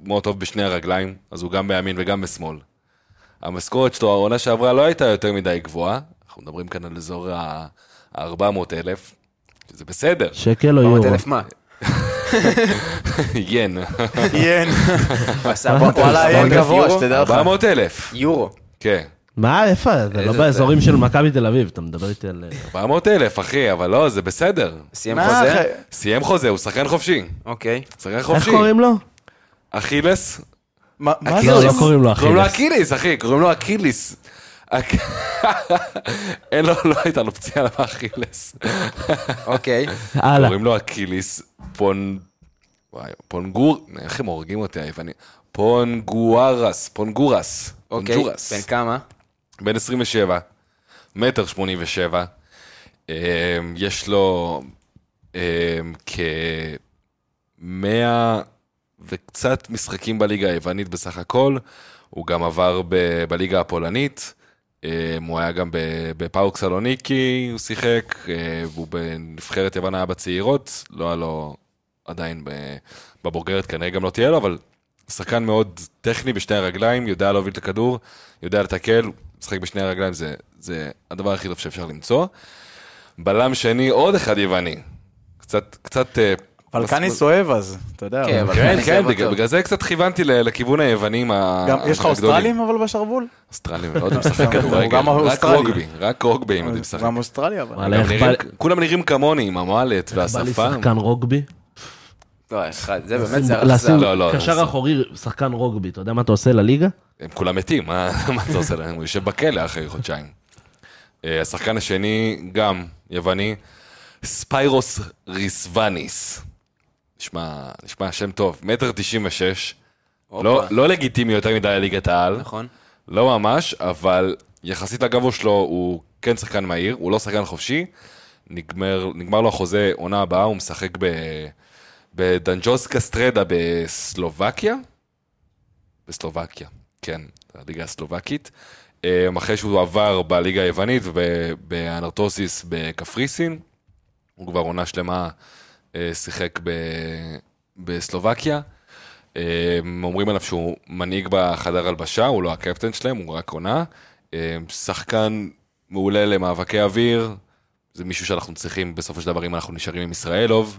מאוד טוב בשני הרגליים, אז הוא גם בימין וגם בשמאל. המשכורת שלו, העונה שעברה לא הייתה יותר מדי גבוהה, אנחנו מדברים כאן על אזור ה-400 אלף, שזה בסדר, (laughs) לא, שקל או יורו. 400,000 מה? ין, ין. הוא עשה 400,000 וואלה, ין גבוה, יורו. שתדע לך. 400 אלף, יורו. כן, מה, איפה? אתה לא איזה באזורים של מכבי תל אביב, אתה מדבר איתי על... אה, 400 אלף אחי, אבל לא, זה בסדר. סיים מה, חוזה? אחי? סיים חוזה, הוא שחקן חופשי, אוקיי. שחקן איך חופשי. (laughs) קוראים לו? אכילס? מה מה זה? לא, לא קוראים לו קוראים לו אכילס. אכיליס, אחי, קוראים לו אכיליס. אק- (laughs) אין לו, לא הייתה לו פציעה לאכילס. אוקיי. הלאה. קוראים לו אקיליס פון... וואי, פונגור... איך הם הורגים אותי היוונים? פונגוארס, פונגורס. אוקיי. פונג'ורס. בן כמה? בן 27, מטר 87, אה, יש לו אה, כ-100 וקצת משחקים בליגה היוונית בסך הכל, הוא גם עבר ב- בליגה הפולנית, אה, הוא היה גם ב- בפאוק סלוניקי, הוא שיחק, אה, הוא בנבחרת יוון היה בצעירות, לא היה לו עדיין ב- בבוגרת, כנראה גם לא תהיה לו, אבל שחקן מאוד טכני בשני הרגליים, יודע להוביל את הכדור, יודע לתקל, משחק בשני הרגליים, זה, זה הדבר הכי טוב שאפשר למצוא. בלם שני, עוד אחד יווני. קצת, קצת... אה, פלקניס מסלול- אוהב אז, אתה יודע. כן, אבל- אבל כן, אני כן, אוהב בגלל, אותו. בגלל זה קצת כיוונתי ל- לכיוון היוונים ה- גם- יש לך הגדולים. אוסטרלים אבל בשרוול? אוסטרלים, (laughs) לא יודע, משחק הוא כדורגל. גם רק אוסטרלי. רוגבי, רק רוגבי אם יודעים לשחק. גם אוסטרלי אבל. וואלה, איך גם בא- נראים- כולם נראים כמוני עם המועלת בא לי והשפם. שחקן רוגבי. לא, אחד, זה באמת, אה, זה אה. הרסה. לשים לא, לא, קשר הרסה. אחורי, שחקן רוגבי, אתה יודע מה אתה עושה לליגה? הם כולם מתים, מה (laughs) מה אתה עושה להם? הוא יושב בכלא אחרי חודשיים. אה, השחקן השני, גם יווני, ספיירוס ריסווניס. נשמע, נשמע שם טוב, מטר תשעים ושש. לא, לא לגיטימי יותר מדי לליגת העל, נכון. לא ממש, אבל יחסית לגבו שלו הוא כן שחקן מהיר, הוא לא שחקן חופשי. נגמר, נגמר לו החוזה עונה הבאה, הוא משחק ב, בדנג'וסקה סטרדה בסלובקיה. בסלובקיה, כן, הליגה הסלובקית. אה, אחרי שהוא עבר בליגה היוונית ובאנרטוסיס בקפריסין, הוא כבר עונה שלמה אה, שיחק ב, בסלובקיה. אה, אומרים עליו שהוא מנהיג בחדר הלבשה, הוא לא הקפטן שלהם, הוא רק עונה. אה, שחקן מעולה למאבקי אוויר, זה מישהו שאנחנו צריכים בסופו של דבר, אם אנחנו נשארים עם ישראלוב.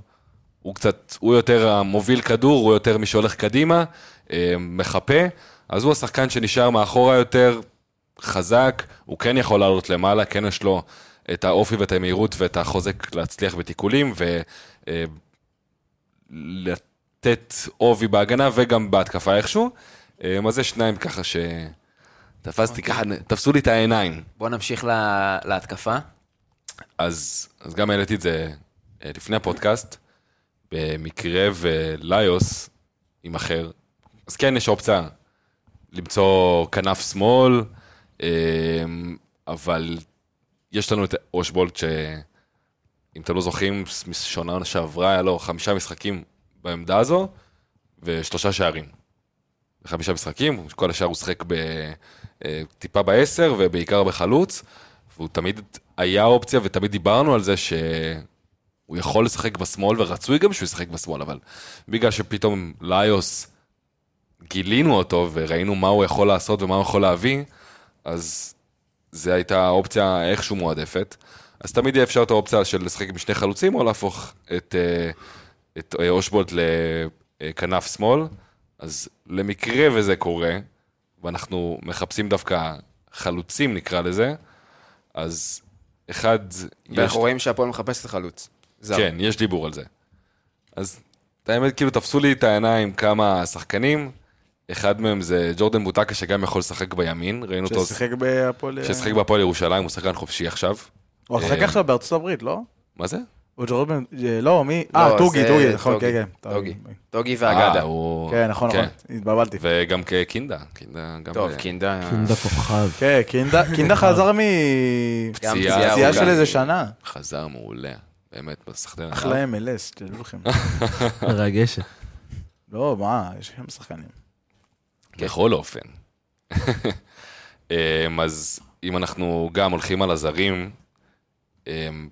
הוא קצת, הוא יותר המוביל כדור, הוא יותר מי שהולך קדימה, אה, מחפה, אז הוא השחקן שנשאר מאחורה יותר, חזק, הוא כן יכול לעלות למעלה, כן יש לו את האופי ואת המהירות ואת החוזק להצליח בתיקולים אמ, ולתת עובי בהגנה וגם בהתקפה איכשהו. אה, אז זה שניים ככה ש... תפסתי ככה, תפסו לי את העיניים. בוא נמשיך לה- להתקפה. אז, אז גם העליתי את זה אה, לפני הפודקאסט, במקרה וליוס יימכר, אז כן יש אופציה למצוא כנף שמאל, אה, אבל יש לנו את אושבולט, שאם אתם לא זוכרים, משעונה שעברה היה לו חמישה משחקים בעמדה הזו, ושלושה שערים. חמישה משחקים, כל השאר הוא שיחק ב... אה, טיפה בעשר ובעיקר בחלוץ, והוא תמיד היה אופציה ותמיד דיברנו על זה שהוא יכול לשחק בשמאל ורצוי גם שהוא ישחק בשמאל, אבל בגלל שפתאום ליוס גילינו אותו וראינו מה הוא יכול לעשות ומה הוא יכול להביא, אז זו הייתה אופציה איכשהו מועדפת. אז תמיד יהיה אפשר את האופציה של לשחק עם שני חלוצים או להפוך את, אה, את אה, אושבולט לכנף שמאל. אז למקרה וזה קורה, ואנחנו מחפשים דווקא חלוצים נקרא לזה, אז אחד... יש- ואנחנו רואים שהפועל מחפשת חלוץ. זר. כן, יש דיבור על זה. אז את האמת, כאילו, תפסו לי את העיניים כמה שחקנים, אחד מהם זה ג'ורדן בוטקה, שגם יכול לשחק בימין, ראינו אותו... ששיחק בהפועל... ששיחק בהפועל ירושלים, הוא שחקן חופשי עכשיו. הוא שיחק עכשיו בארצות הברית, לא? מה זה? הוא ג'ורבן... אה, לא, מי? לא, אה, טוגי, זה טוגי, נכון, טוגי, כן, כן. טוגי. טוגי. טוגי ואגדה. אה, הוא... כן, נכון, כן. נכון. התבלבלתי. וגם כקינדה, קינדה גם... טוב, אה, קינדה. קינדה (laughs) כוכב. כן, קינדה- קינדה חזר מ... גם פציעה ארוכה. פציעה של איזה שנה. חזר מעולה, באמת, בסחטיין. אחלה MLS, (laughs) תדעו לכם. כן. מרגשת. לא, מה, יש שם שחקנים. כן. בכל אופן. (laughs) אמ, אז אם אנחנו גם הולכים על הזרים, אמ,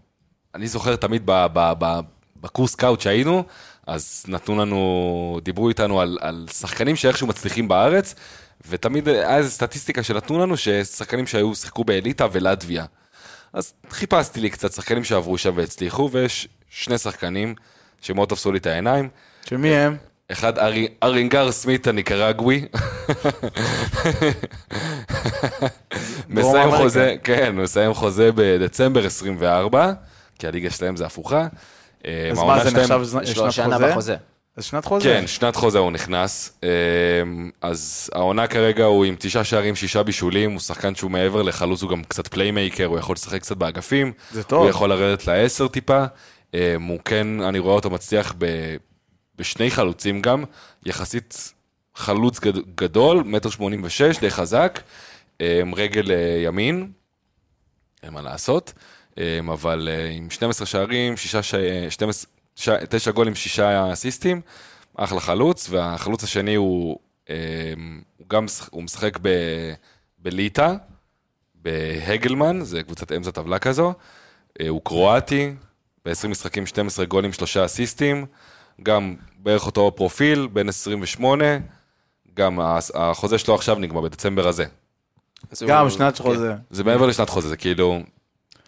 אני זוכר תמיד ב- ב- ב- בקורס קאוט שהיינו, אז נתנו לנו, דיברו איתנו על, על שחקנים שאיכשהו מצליחים בארץ, ותמיד היה איזו סטטיסטיקה שנתנו לנו, ששחקנים שהיו, שיחקו באליטה ולטביה. אז חיפשתי לי קצת שחקנים שעברו שם והצליחו, ויש שני שחקנים שמאוד תפסו לי את העיניים. שמי הם? אחד ארי, ארינגר סמית הניקרגווי. מסיים אמריקה. חוזה, כן, מסיים חוזה בדצמבר 24, כי הליגה שלהם זה הפוכה. אה, אז העונה מה, זה שלהם- נחשב זנ- יש לו שנת שנה חוזה? בחוזה. אז שנת חוזה. כן, שנת חוזה הוא נכנס. אה, אז העונה כרגע הוא עם תשעה שערים, שישה בישולים, הוא שחקן שהוא מעבר לחלוץ, הוא גם קצת פליימייקר, הוא יכול לשחק קצת באגפים. זה טוב. הוא יכול לרדת לעשר טיפה. אה, הוא כן, אני רואה אותו מצליח ב, בשני חלוצים גם, יחסית חלוץ גד- גדול, מטר שמונים ושש, די חזק. אמ, רגל אה, ימין, אין מה לעשות, אמ, אבל אה, עם 12 שערים, אה, 6, 12, 9 גולים, 6 אסיסטים, אחלה חלוץ, והחלוץ השני הוא, אמ, הוא גם משח- הוא משחק ב, בליטא, בהגלמן, זה קבוצת אמצע טבלה כזו, אה, הוא קרואטי, ב-20 משחקים 12 גולים, 3 אסיסטים, גם בערך אותו פרופיל, בן 28, גם הס- החוזה שלו עכשיו נגמר בדצמבר הזה. אז הוא- גם שנת כן. חוזה. זה מעבר לשנת חוזה, זה כאילו...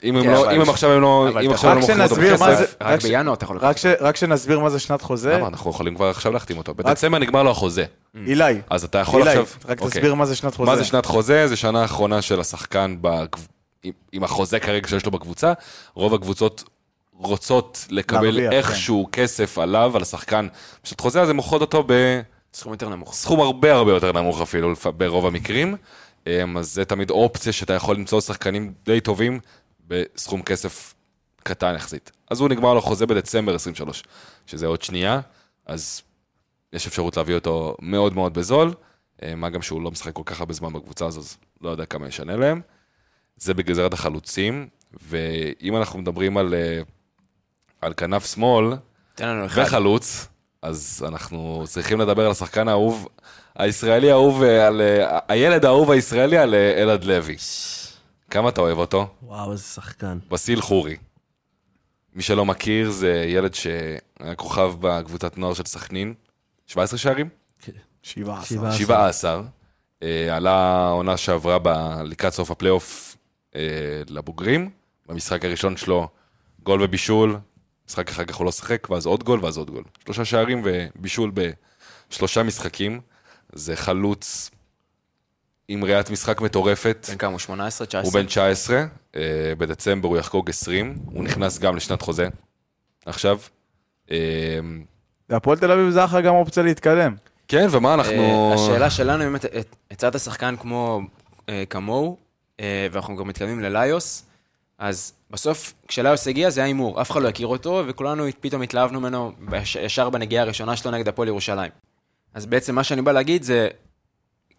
אם הם כן, לא, אבל- אם הם עכשיו הם לא, אבל אם אתה- עכשיו הם רק לא מוכרים אותו שנסביר מה בכסף, זה- רק רק ש- בינואר אתה יכול לקחת. רק ש- רק שנסביר מה זה שנת חוזה. למה אנחנו יכולים כבר עכשיו להחתים אותו? בדצמבר נגמר לו החוזה. Mm. אילי, אז אתה יכול אילי, עכשיו... רק אוקיי. תסביר מה זה שנת חוזה. מה זה שנת חוזה? זה שנה האחרונה של השחקן בקב- עם- עם החוזה כרגע שיש לו בקבוצה. רוב הקבוצות רוצות לקבל להרוויח, כן. איכשהו כסף עליו, על השחקן. בשנת חוזה אז הן מוכרות אותו סכום יותר נמוך. בסכום הרבה הרבה יותר נמוך אפילו לפ- ברוב המקרים. אמ, אז זה תמיד אופציה שאתה יכול למצוא שחקנים די טובים בסכום כסף קטן יחסית. אז הוא נגמר לו חוזה בדצמבר 23, שזה עוד שנייה, אז יש אפשרות להביא אותו מאוד מאוד בזול. אה, מה גם שהוא לא משחק כל כך הרבה זמן בקבוצה הזו, אז לא יודע כמה ישנה להם. זה בגזרת החלוצים, ואם אנחנו מדברים על, אה, על כנף שמאל תן לנו אחד. וחלוץ, אז אנחנו צריכים לדבר על השחקן האהוב, הישראלי האהוב, אה, על, אה, הילד האהוב הישראלי על אה, אלעד לוי. כמה אתה אוהב אותו? וואו, איזה שחקן. בסיל חורי. מי שלא מכיר, זה ילד שהיה כוכב בקבוצת נוער של סכנין, 17 שערים? שבעה עשר. שבעה. 17. אה, עלה העונה שעברה ב- לקראת סוף הפלייאוף אה, לבוגרים. במשחק הראשון שלו, גול ובישול. משחק אחר כך הוא לא שיחק, ואז עוד גול ואז עוד גול. שלושה שערים ובישול בשלושה משחקים. זה חלוץ עם ראיית משחק מטורפת. בן כמה הוא? 18? 19? הוא בן 19, אה, בדצמבר הוא יחגוג 20, הוא נכנס גם לשנת חוזה עכשיו. אה, והפועל תל אביב זה אחלה גם אופציה להתקדם. כן, ומה אה, אנחנו... השאלה שלנו, אם אתה- את- הצעת שחקן כמו, אה, כמוהו, אה, ואנחנו גם מתקדמים לליוס, אז בסוף, כשליוס הגיע זה היה הימור, אף אחד לא הכיר אותו, וכולנו פתאום התלהבנו ממנו בש- ישר בנגיעה הראשונה שלו נגד הפועל ירושלים. אז בעצם מה שאני בא להגיד זה,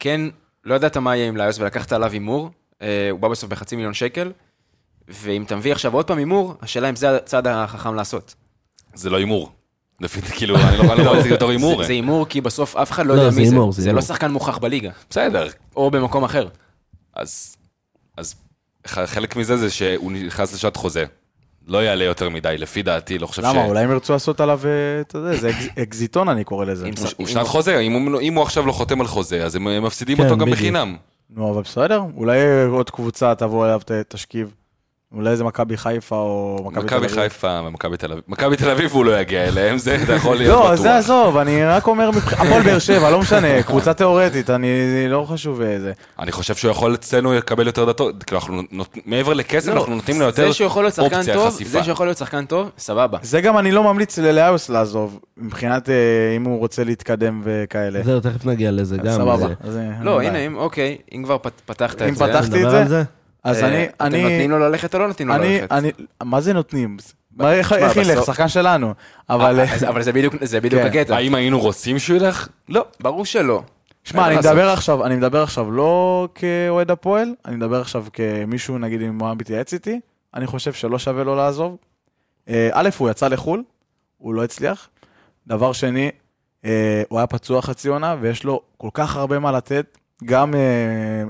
כן, לא ידעת מה יהיה עם ליוס ולקחת עליו הימור, אה, הוא בא בסוף בחצי מיליון שקל, ואם אתה מביא עכשיו עוד פעם הימור, השאלה אם זה הצעד החכם לעשות. זה לא הימור. לפי, (laughs) כאילו, אני לא אני לא רואה את זה בתור הימור. זה- זה הימור כי בסוף אף אחד לא לא, יודע זה מי זה. הימור, זה זה לא הימור. שחקן מוכח בליגה, בסדר, או במקום אחר. אז, אז ח- חלק מזה זה שהוא נכנס לשעת חוזה. לא יעלה יותר מדי, לפי דעתי, לא חושב ש... למה? אולי הם ירצו לעשות עליו, אה, אתה יודע, (laughs) זה אקז- אקזיטון אני קורא לזה. אם הוא- שחק- הוא אם שנת חוזה, אם הוא, אם הוא עכשיו לא חותם על חוזה, אז הם הם מפסידים כן, אותו גם בדיוק. בחינם. נו, אבל בסדר, אולי עוד קבוצה תבוא אליו, ת- תשכיב. אולי זה מכבי חיפה או מכבי תל אביב. מכבי חיפה ומכבי תל אביב. מכבי תל אביב הוא לא יגיע אליהם, זה אתה יכול להיות בטוח. לא, זה עזוב, אני רק אומר, מבח- הפועל באר שבע, לא משנה, קבוצה תיאורטית, אני לא חשוב אה, זה. אני חושב שהוא יכול אצלנו לקבל יותר דתות, כאילו אנחנו נות... מעבר לכסף אנחנו נותנים לו יותר לא, זה שהוא יכול להיות שחקן אופציה טוב, חשיפה. זה שיכול להיות שחקן טוב, סבבה. זה גם אני לא ממליץ ללאוס לעזוב, מבחינת אה, אם הוא רוצה להתקדם וכאלה. זהו, תכף נגיע לזה גם. סבבה. זה- אז, אה, אין לא, בעיה. הנה, אם, אוקיי, אם כבר פת- פתחת אם את זה. פתחתי את נדבר זה? על זה? אז אה, אני, אתם נותנים אני, לו ללכת או לא נותנים לו אני, ללכת? אני, מה זה נותנים? מה, איך תשמע, איך ילך? בסוף- שחקן שלנו. אבל, אה, אז- אבל זה בדיוק- זה בדיוק כן. הקטע. האם היינו רוצים שהוא ילך? לא, ברור שלא. שמע, אין אני מה לעשות. מדבר עכשיו, אני מדבר עכשיו לא כאוהד הפועל, אני מדבר עכשיו כמישהו, נגיד, אם הוא היה מתייעץ איתי, אני חושב שלא שווה לו לעזוב. אה, א', הוא יצא לחו"ל, הוא לא הצליח. דבר שני, אה, הוא היה פצוע חצי עונה, ויש לו כל כך הרבה מה לתת, גם, אה,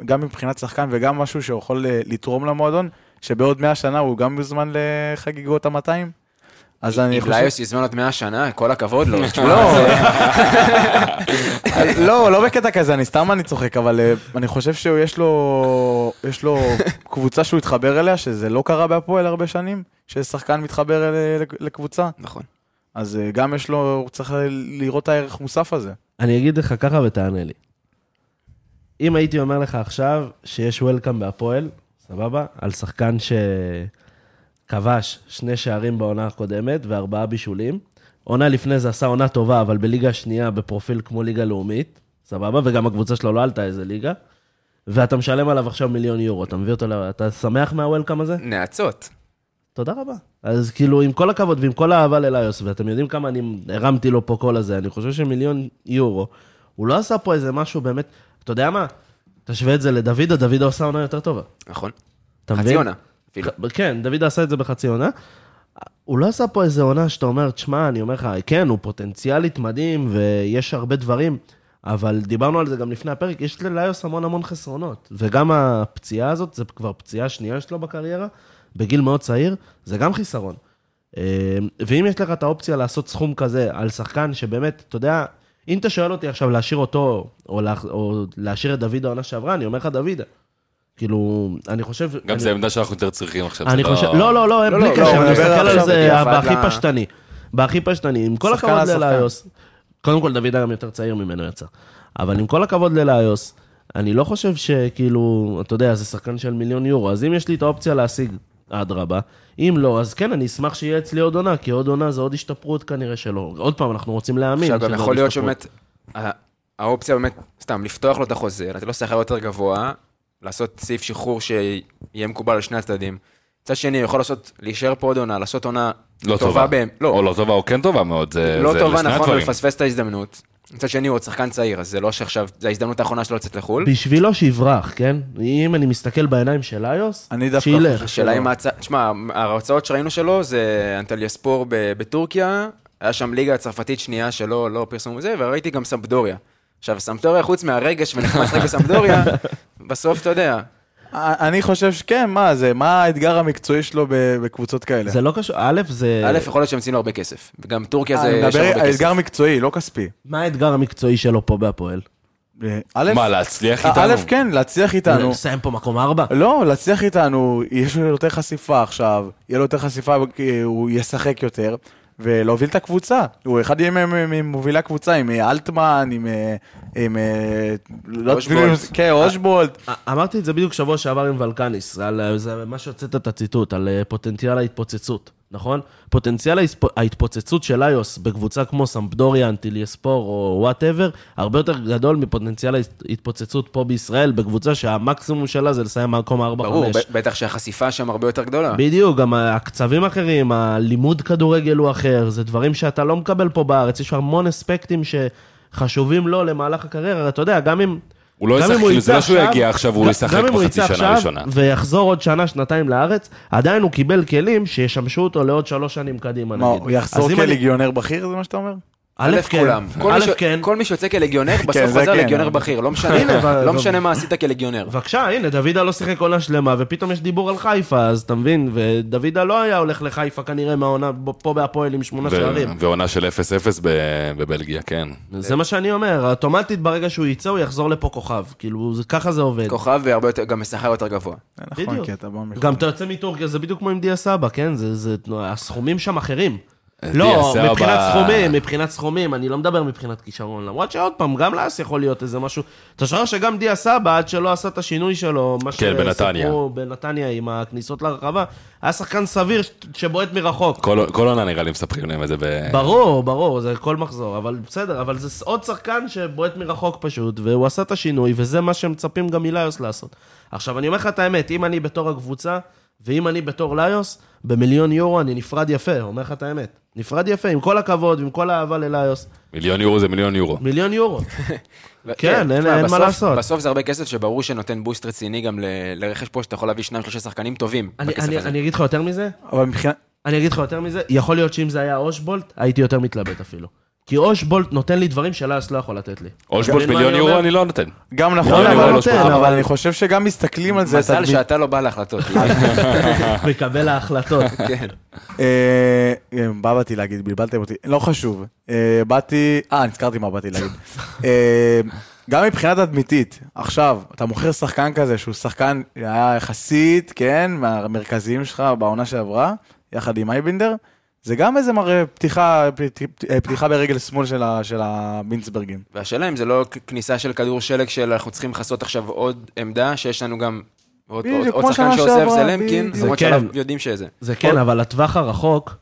גם מבחינת שחקן וגם משהו שיכול אה, לתרום למועדון, שבעוד 100 שנה הוא גם יוזמן לחגיגות ה-200. אז אני אם חושב... ליוס יזמן עוד 100 שנה, כל הכבוד (laughs) לו. תשמע, לא, זה- לא, לא בקטע כזה, אני סתם אני צוחק, אבל אה, אני חושב שיש לו, יש לו קבוצה שהוא התחבר אליה, שזה לא קרה בהפועל הרבה שנים, ששחקן מתחבר אל- לקבוצה, נכון. אז אה, גם יש לו, הוא צריך לראות את הערך מוסף הזה. אני אגיד לך ככה ותענה לי. אם הייתי אומר לך עכשיו שיש וולקאם בהפועל, סבבה? על שחקן שכבש שני שערים בעונה הקודמת וארבעה בישולים. עונה לפני זה עשה עונה טובה, אבל בליגה השנייה בפרופיל כמו ליגה לאומית, סבבה? וגם הקבוצה שלו לא עלתה איזה ליגה. ואתה משלם עליו עכשיו מיליון יורו, אתה מביא אותו ל... אתה שמח מהוולקאם הזה? נאצות. תודה רבה. אז כאילו, עם כל הכבוד ועם כל האהבה לליוס, ואתם יודעים כמה אני הרמתי לו פה כל הזה, אני חושב שמיליון יורו, הוא לא עשה פה איזה משהו באמת, אתה יודע מה? תשווה את זה לדוידה, דוידה עושה עונה יותר טובה. נכון. אתה מבין? חצי עונה. אפילו. ח- כן, דוד עשה את זה בחצי עונה. הוא לא עשה פה איזה עונה שאתה אומר, תשמע, אני אומר לך, כן, הוא פוטנציאלית מדהים ויש הרבה דברים, אבל דיברנו על זה גם לפני הפרק, יש לליוס המון המון חסרונות. וגם הפציעה הזאת, זה כבר פציעה שנייה שלו בקריירה, בגיל מאוד צעיר, זה גם חיסרון. אה, ואם יש לך את האופציה לעשות סכום כזה על שחקן שבאמת, אתה יודע, אם אתה שואל אותי עכשיו להשאיר אותו, או, לה, או להשאיר את דוד העונה שעברה, אני אומר לך דוד. כאילו, אני חושב... גם אני- זו עמדה שאנחנו יותר צריכים עכשיו. אני זה חושב, לא, לא, לא, בלי לא, לא, קשר, הוא אני מדבר מסתכל על עכשיו זה בדיעבד בהכי ל- פשטני. בהכי פשטני, עם כל שחקן הכבוד על שחקן. ללאיוס, קודם כל דוידה גם יותר צעיר ממנו יצא, אבל עם כל הכבוד ללאיוס, אני לא חושב שכאילו, אתה יודע, זה שחקן של מיליון יורו, אז אם יש לי את האופציה להשיג, אדרבה, אם לא, אז כן, אני אשמח שיהיה אצלי עוד עונה, כי עוד עונה זה עוד השתפרות כנראה שלא. עוד פעם, אנחנו רוצים להאמין. עכשיו, גם שזה עוד יכול להיות השתפרות. שבאמת, ה- האופציה באמת, סתם, לפתוח לו את החוזה, לתת לו שכר יותר גבוה, לעשות סעיף שחרור שיהיה מקובל על שני הצדדים. מצד שני, הוא יכול לעשות, להישאר פה עוד עונה, לעשות עונה לא טובה. בהם. או לא, לא טובה או כן טובה מאוד, זה לא זה טובה, לשני נכון, הדברים. ולפספס את ההזדמנות. מצד שני, הוא עוד שחקן צעיר, אז זה לא שעכשיו, זו ההזדמנות האחרונה שלו לצאת לחו"ל. בשבילו שיברח, כן? אם אני מסתכל בעיניים של לאיוס, אני דווקא שילך. חושב השאלה אם ההצעה, תשמע, ההרצאות שראינו שלו זה אנטליאספור ב- בטורקיה, היה שם ליגה הצרפתית שנייה שלא לא פרסמו זה, וראיתי גם סמפדוריה. עכשיו, סמפדוריה, חוץ מהרגש ונכנס לשחק בסמפדוריה, בסוף אתה יודע, אני חושב שכן, מה זה, מה האתגר המקצועי שלו ב- בקבוצות כאלה? זה לא קשור, א', זה... א', יכול להיות שהם ציינו הרבה כסף, וגם טורקיה לא- זה... אני יש מדבר הרבה על כסף. אתגר מקצועי, לא כספי. מה האתגר המקצועי שלו פה בהפועל? אה, א', מה, להצליח אה, איתנו? א', כן, להצליח איתנו. לסיים פה מקום ארבע? לא, להצליח איתנו, יש לו יותר חשיפה עכשיו, יהיה לו יותר חשיפה, אה, הוא ישחק יותר, ולהוביל את הקבוצה. הוא אחד מ- מ- מ- ממובילי הקבוצה, עם אה, אלטמן, עם... אה, עם אה, לא- אושבולט. כן, אושבולט. א- אמרתי את זה בדיוק שבוע שעבר עם ולקניס, על אה, זה מה שהוצאת את הציטוט, על אה, פוטנציאל ההתפוצצות, נכון? פוטנציאל ההספ- ההתפוצצות של איוס בקבוצה כמו סמפדוריה, אנטיליאספור או וואטאבר, הרבה יותר גדול מפוטנציאל ההתפוצצות פה בישראל, בקבוצה שהמקסימום שלה זה לסיים במקום ברור, 4-5. ב- בטח שהחשיפה שם הרבה יותר גדולה. אה. בדיוק, גם הקצבים אחרים, הלימוד כדורגל הוא אחר, זה דברים שאתה לא מקבל פה בארץ, יש המון אספקטים שחשובים לו למהלך הקריירה, אתה יודע, גם אם... הוא לא גם אם ישחק, כאילו, זה יצא לא שהוא עכשיו- יגיע עכשיו, גם- הוא ישחק גם אם הוא יצא בחצי שנה עכשיו הראשונה. ויחזור עוד שנה, שנתיים לארץ, עדיין הוא קיבל כלים שישמשו אותו לעוד שלוש שנים קדימה, מה, נגיד. הוא יחזור אז אם אני- כלגיונר בכיר, זה מה שאתה אומר? א', כן, כולם. כל מי א', ש- כן. כל מי שיוצא כלגיונר, בסוף כן, זה חוזר כן. לגיונר בכיר, לא הנה, משנה אבל- לא משנה מה עשית כלגיונר. בבקשה, הנה, דוידה לא שיחק עונה שלמה, ופתאום יש דיבור על חיפה, אז אתה מבין? ודוידה לא היה הולך לחיפה כנראה מהעונה, ב- פה בהפועל עם שמונה ו- שערים. ועונה של 0-0 ב- בבלגיה, כן. זה מה שאני אומר, אוטומטית ברגע שהוא יצא הוא יחזור לפה כוכב, כאילו זה- ככה זה עובד. כוכב והרבה יותר, גם משכר יותר גבוה. נכון, כי אתה בא מחו"ל. גם אתה יוצא מטורקיה, זה בדיוק כמו עם דיה סבא, כן? זה, זה, הסכומים שם אחרים. אה, דיה לא, סבא- מבחינת סכומים, מבחינת סכומים, אני לא מדבר מבחינת כישרון, למרות שעוד פעם, גם לאס יכול להיות איזה משהו. אתה שומע שגם דיה סבא, עד שלא עשה את השינוי שלו, מה כן, בנתניה. שסיפרו בנתניה עם הכניסות לרחבה, היה שחקן סביר ש- שבועט מרחוק. כל כל עונה נראה לי מספרים להם את זה כן. ב... ברור, ברור, זה כל מחזור, אבל בסדר, אבל זה עוד שחקן שבועט מרחוק פשוט, והוא עשה את השינוי, וזה מה שמצפים גם מליוס לעשות. עכשיו, אני אומר לך את האמת, אם אני בתור הקבוצה, ואם אני בתור ליוס, במיליון יורו אני נפרד יפה, אומר לך את האמת. נפרד יפה, עם כל הכבוד, ועם כל האהבה לליוס, מיליון יורו זה מיליון יורו. מיליון (laughs) יורו. כן, אין- כן, תשמע, אין מה בסוף- לעשות. בסוף זה הרבה כסף שברור שנותן בוסט רציני גם ל- לרכש פה, שאתה יכול להביא שניים, שלושה שחקנים טובים אני- בכסף אני הזה. אני אגיד לך יותר מזה, אבל מבחינת... אני אגיד לך יותר מזה, יכול להיות שאם זה היה אושבולט, הייתי יותר מתלבט אפילו. כי אושבולט נותן לי דברים שליוס לא יכול (laughs) לתת לי. אושבולט אתה מבין מה מיליון אני יורו אומר? אני לא נותן. גם לא, נכון, אני אבל- לא נותן, אבל- אבל אני חושב שגם מסתכלים על זה... מזל תדמית- שאתה לא בא (laughs) להחלטות. מקבל ההחלטות. כן. אה, אה, מה באתי להגיד? בלבלתם אותי. לא חשוב. אה, באתי... אה, נזכרתי מה (laughs) באתי להגיד. אה, גם מבחינה תדמיתית, עכשיו, אתה מוכר שחקן כזה שהוא שחקן היה יחסית, כן, מהמרכזיים שלך בעונה שעברה, יחד עם אייבינדר, זה גם איזה מראה פתיחה, פת- אה, פתיחה ברגל שמאל של ה- של הבינסברגים. והשאלה אם זה לא כ- כניסה של כדור שלג של אנחנו צריכים לכסות עכשיו עוד עמדה, שיש לנו גם עוד בדיוק, עוד- עוד כמו שחקן שנה שעוזב, שעברה, זה למקין, בדיוק. למרות זה שאנחנו כן. יודעים שזה. זה כן, אבל לטווח הרחוק,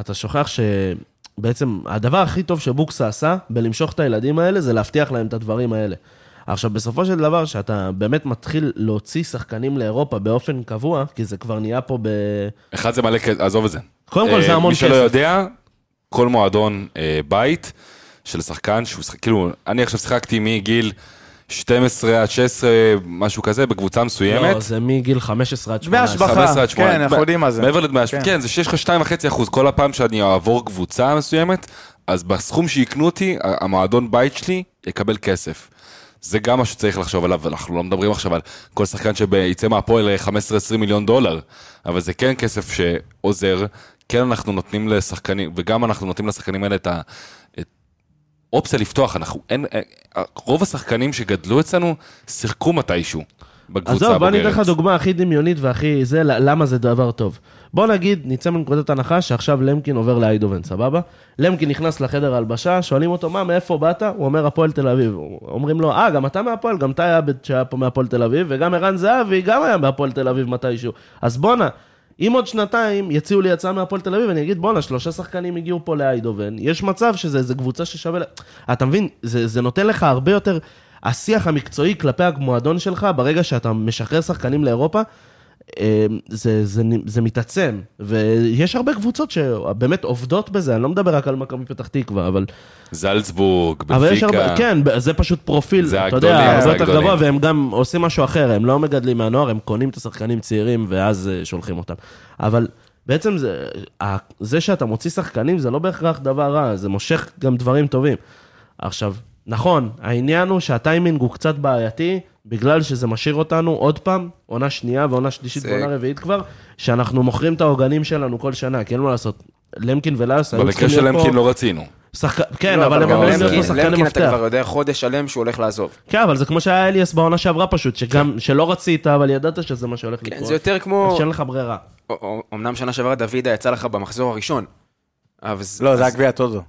אתה שוכח שבעצם הדבר הכי טוב שבוקסה עשה בלמשוך את הילדים האלה, זה להבטיח להם את הדברים האלה. עכשיו, בסופו של דבר, שאתה באמת מתחיל להוציא שחקנים לאירופה באופן קבוע, כי זה כבר נהיה פה ב... אחד זה מלא כסף, עזוב את זה. קודם כל, אה, זה המון כסף. מי שלא יודע, כל מועדון אה, בית של שחקן שהוא שחק... כאילו, אני עכשיו שיחקתי מגיל 12 עד 16, משהו כזה, בקבוצה מסוימת. לא, זה מגיל 15 עד דמי 18. השבחה. 15 עד 18. כן, אנחנו יודעים מה זה. מעבר לדמי השבחה, כן. כן, זה שיש לך 2.5 אחוז כל הפעם שאני אעבור קבוצה מסוימת, אז בסכום שיקנו אותי, ה- המועדון בית שלי יקבל כסף. זה גם מה שצריך לחשוב עליו, אנחנו לא מדברים עכשיו על כל שחקן שיצא מהפועל אה, 15-20 מיליון דולר, אבל זה כן כסף שעוזר, כן אנחנו נותנים לשחקנים, וגם אנחנו נותנים לשחקנים האלה את ה... את אופציה לפתוח, אנחנו אין, אה, רוב השחקנים שגדלו אצלנו שיחקו מתישהו בקבוצה הבוגרת. עזוב, בוא אני אתן לך דוגמה הכי דמיונית והכי זה, ל- למה זה דבר טוב. בוא נגיד, נצא מנקודת הנחה שעכשיו למקין עובר לאיידובן, סבבה? למקין נכנס לחדר הלבשה, שואלים אותו, מה, מאיפה באת? הוא אומר, הפועל תל אביב. אומרים לו, אה, גם אתה מהפועל, גם אתה היה בית שהיה פה מהפועל תל אביב, וגם ערן זהבי גם היה מהפועל תל אביב מתישהו. אז בואנה, אם עוד שנתיים יציעו לי הצעה מהפועל תל אביב, אני אגיד, בואנה, שלושה שחקנים הגיעו פה לאיידובן, יש מצב שזה איזה קבוצה ששווה... לה-" אתה מבין, זה, זה נותן לך הרבה יותר... השיח המקצועי כלפי המועדון שלך, ברגע שאתה משחרר שחקנים לאירופה, אה, זה, זה, זה מתעצם. ויש הרבה קבוצות שבאמת עובדות בזה, אני לא מדבר רק על מכבי פתח תקווה, אבל... זלצבורג, בנפיקה. אבל יש הרבה, כן, זה פשוט פרופיל, זה אתה הגדולים, יודע, זה הרבה יותר הגדולים. גבוה, והם גם עושים משהו אחר, הם לא מגדלים מהנוער, הם קונים את השחקנים צעירים ואז אה, שולחים אותם. אבל בעצם זה, ה- זה שאתה מוציא שחקנים זה לא בהכרח דבר רע, זה מושך גם דברים טובים. עכשיו, נכון, העניין הוא שהטיימינג הוא קצת בעייתי, בגלל שזה משאיר אותנו עוד פעם, עונה שנייה ועונה שלישית זה- ועונה רביעית כבר, שאנחנו מוכרים את העוגנים שלנו כל שנה, כי אין מה לעשות. למקין ולאס היו צריכים במקרה של להיות פה... למקין לא רצינו. שחק... כן, לא, אבל הם גם אמורים להיות פה למקין- שחקני למקין אתה מפתח. כבר יודע חודש שלם שהוא הולך לעזוב. כן, אבל זה כמו שהיה אליאס בעונה שעברה פשוט, שגם, שלא רצית, אבל ידעת שזה מה שהולך לקרות. כן, זה יותר כמו... אז שאין לך ברירה. א- א- אמנם שנה שעברה דוידה יצא לך במחזור הראשון. אבל ז- לא, אז- זה היה גביע טוטו.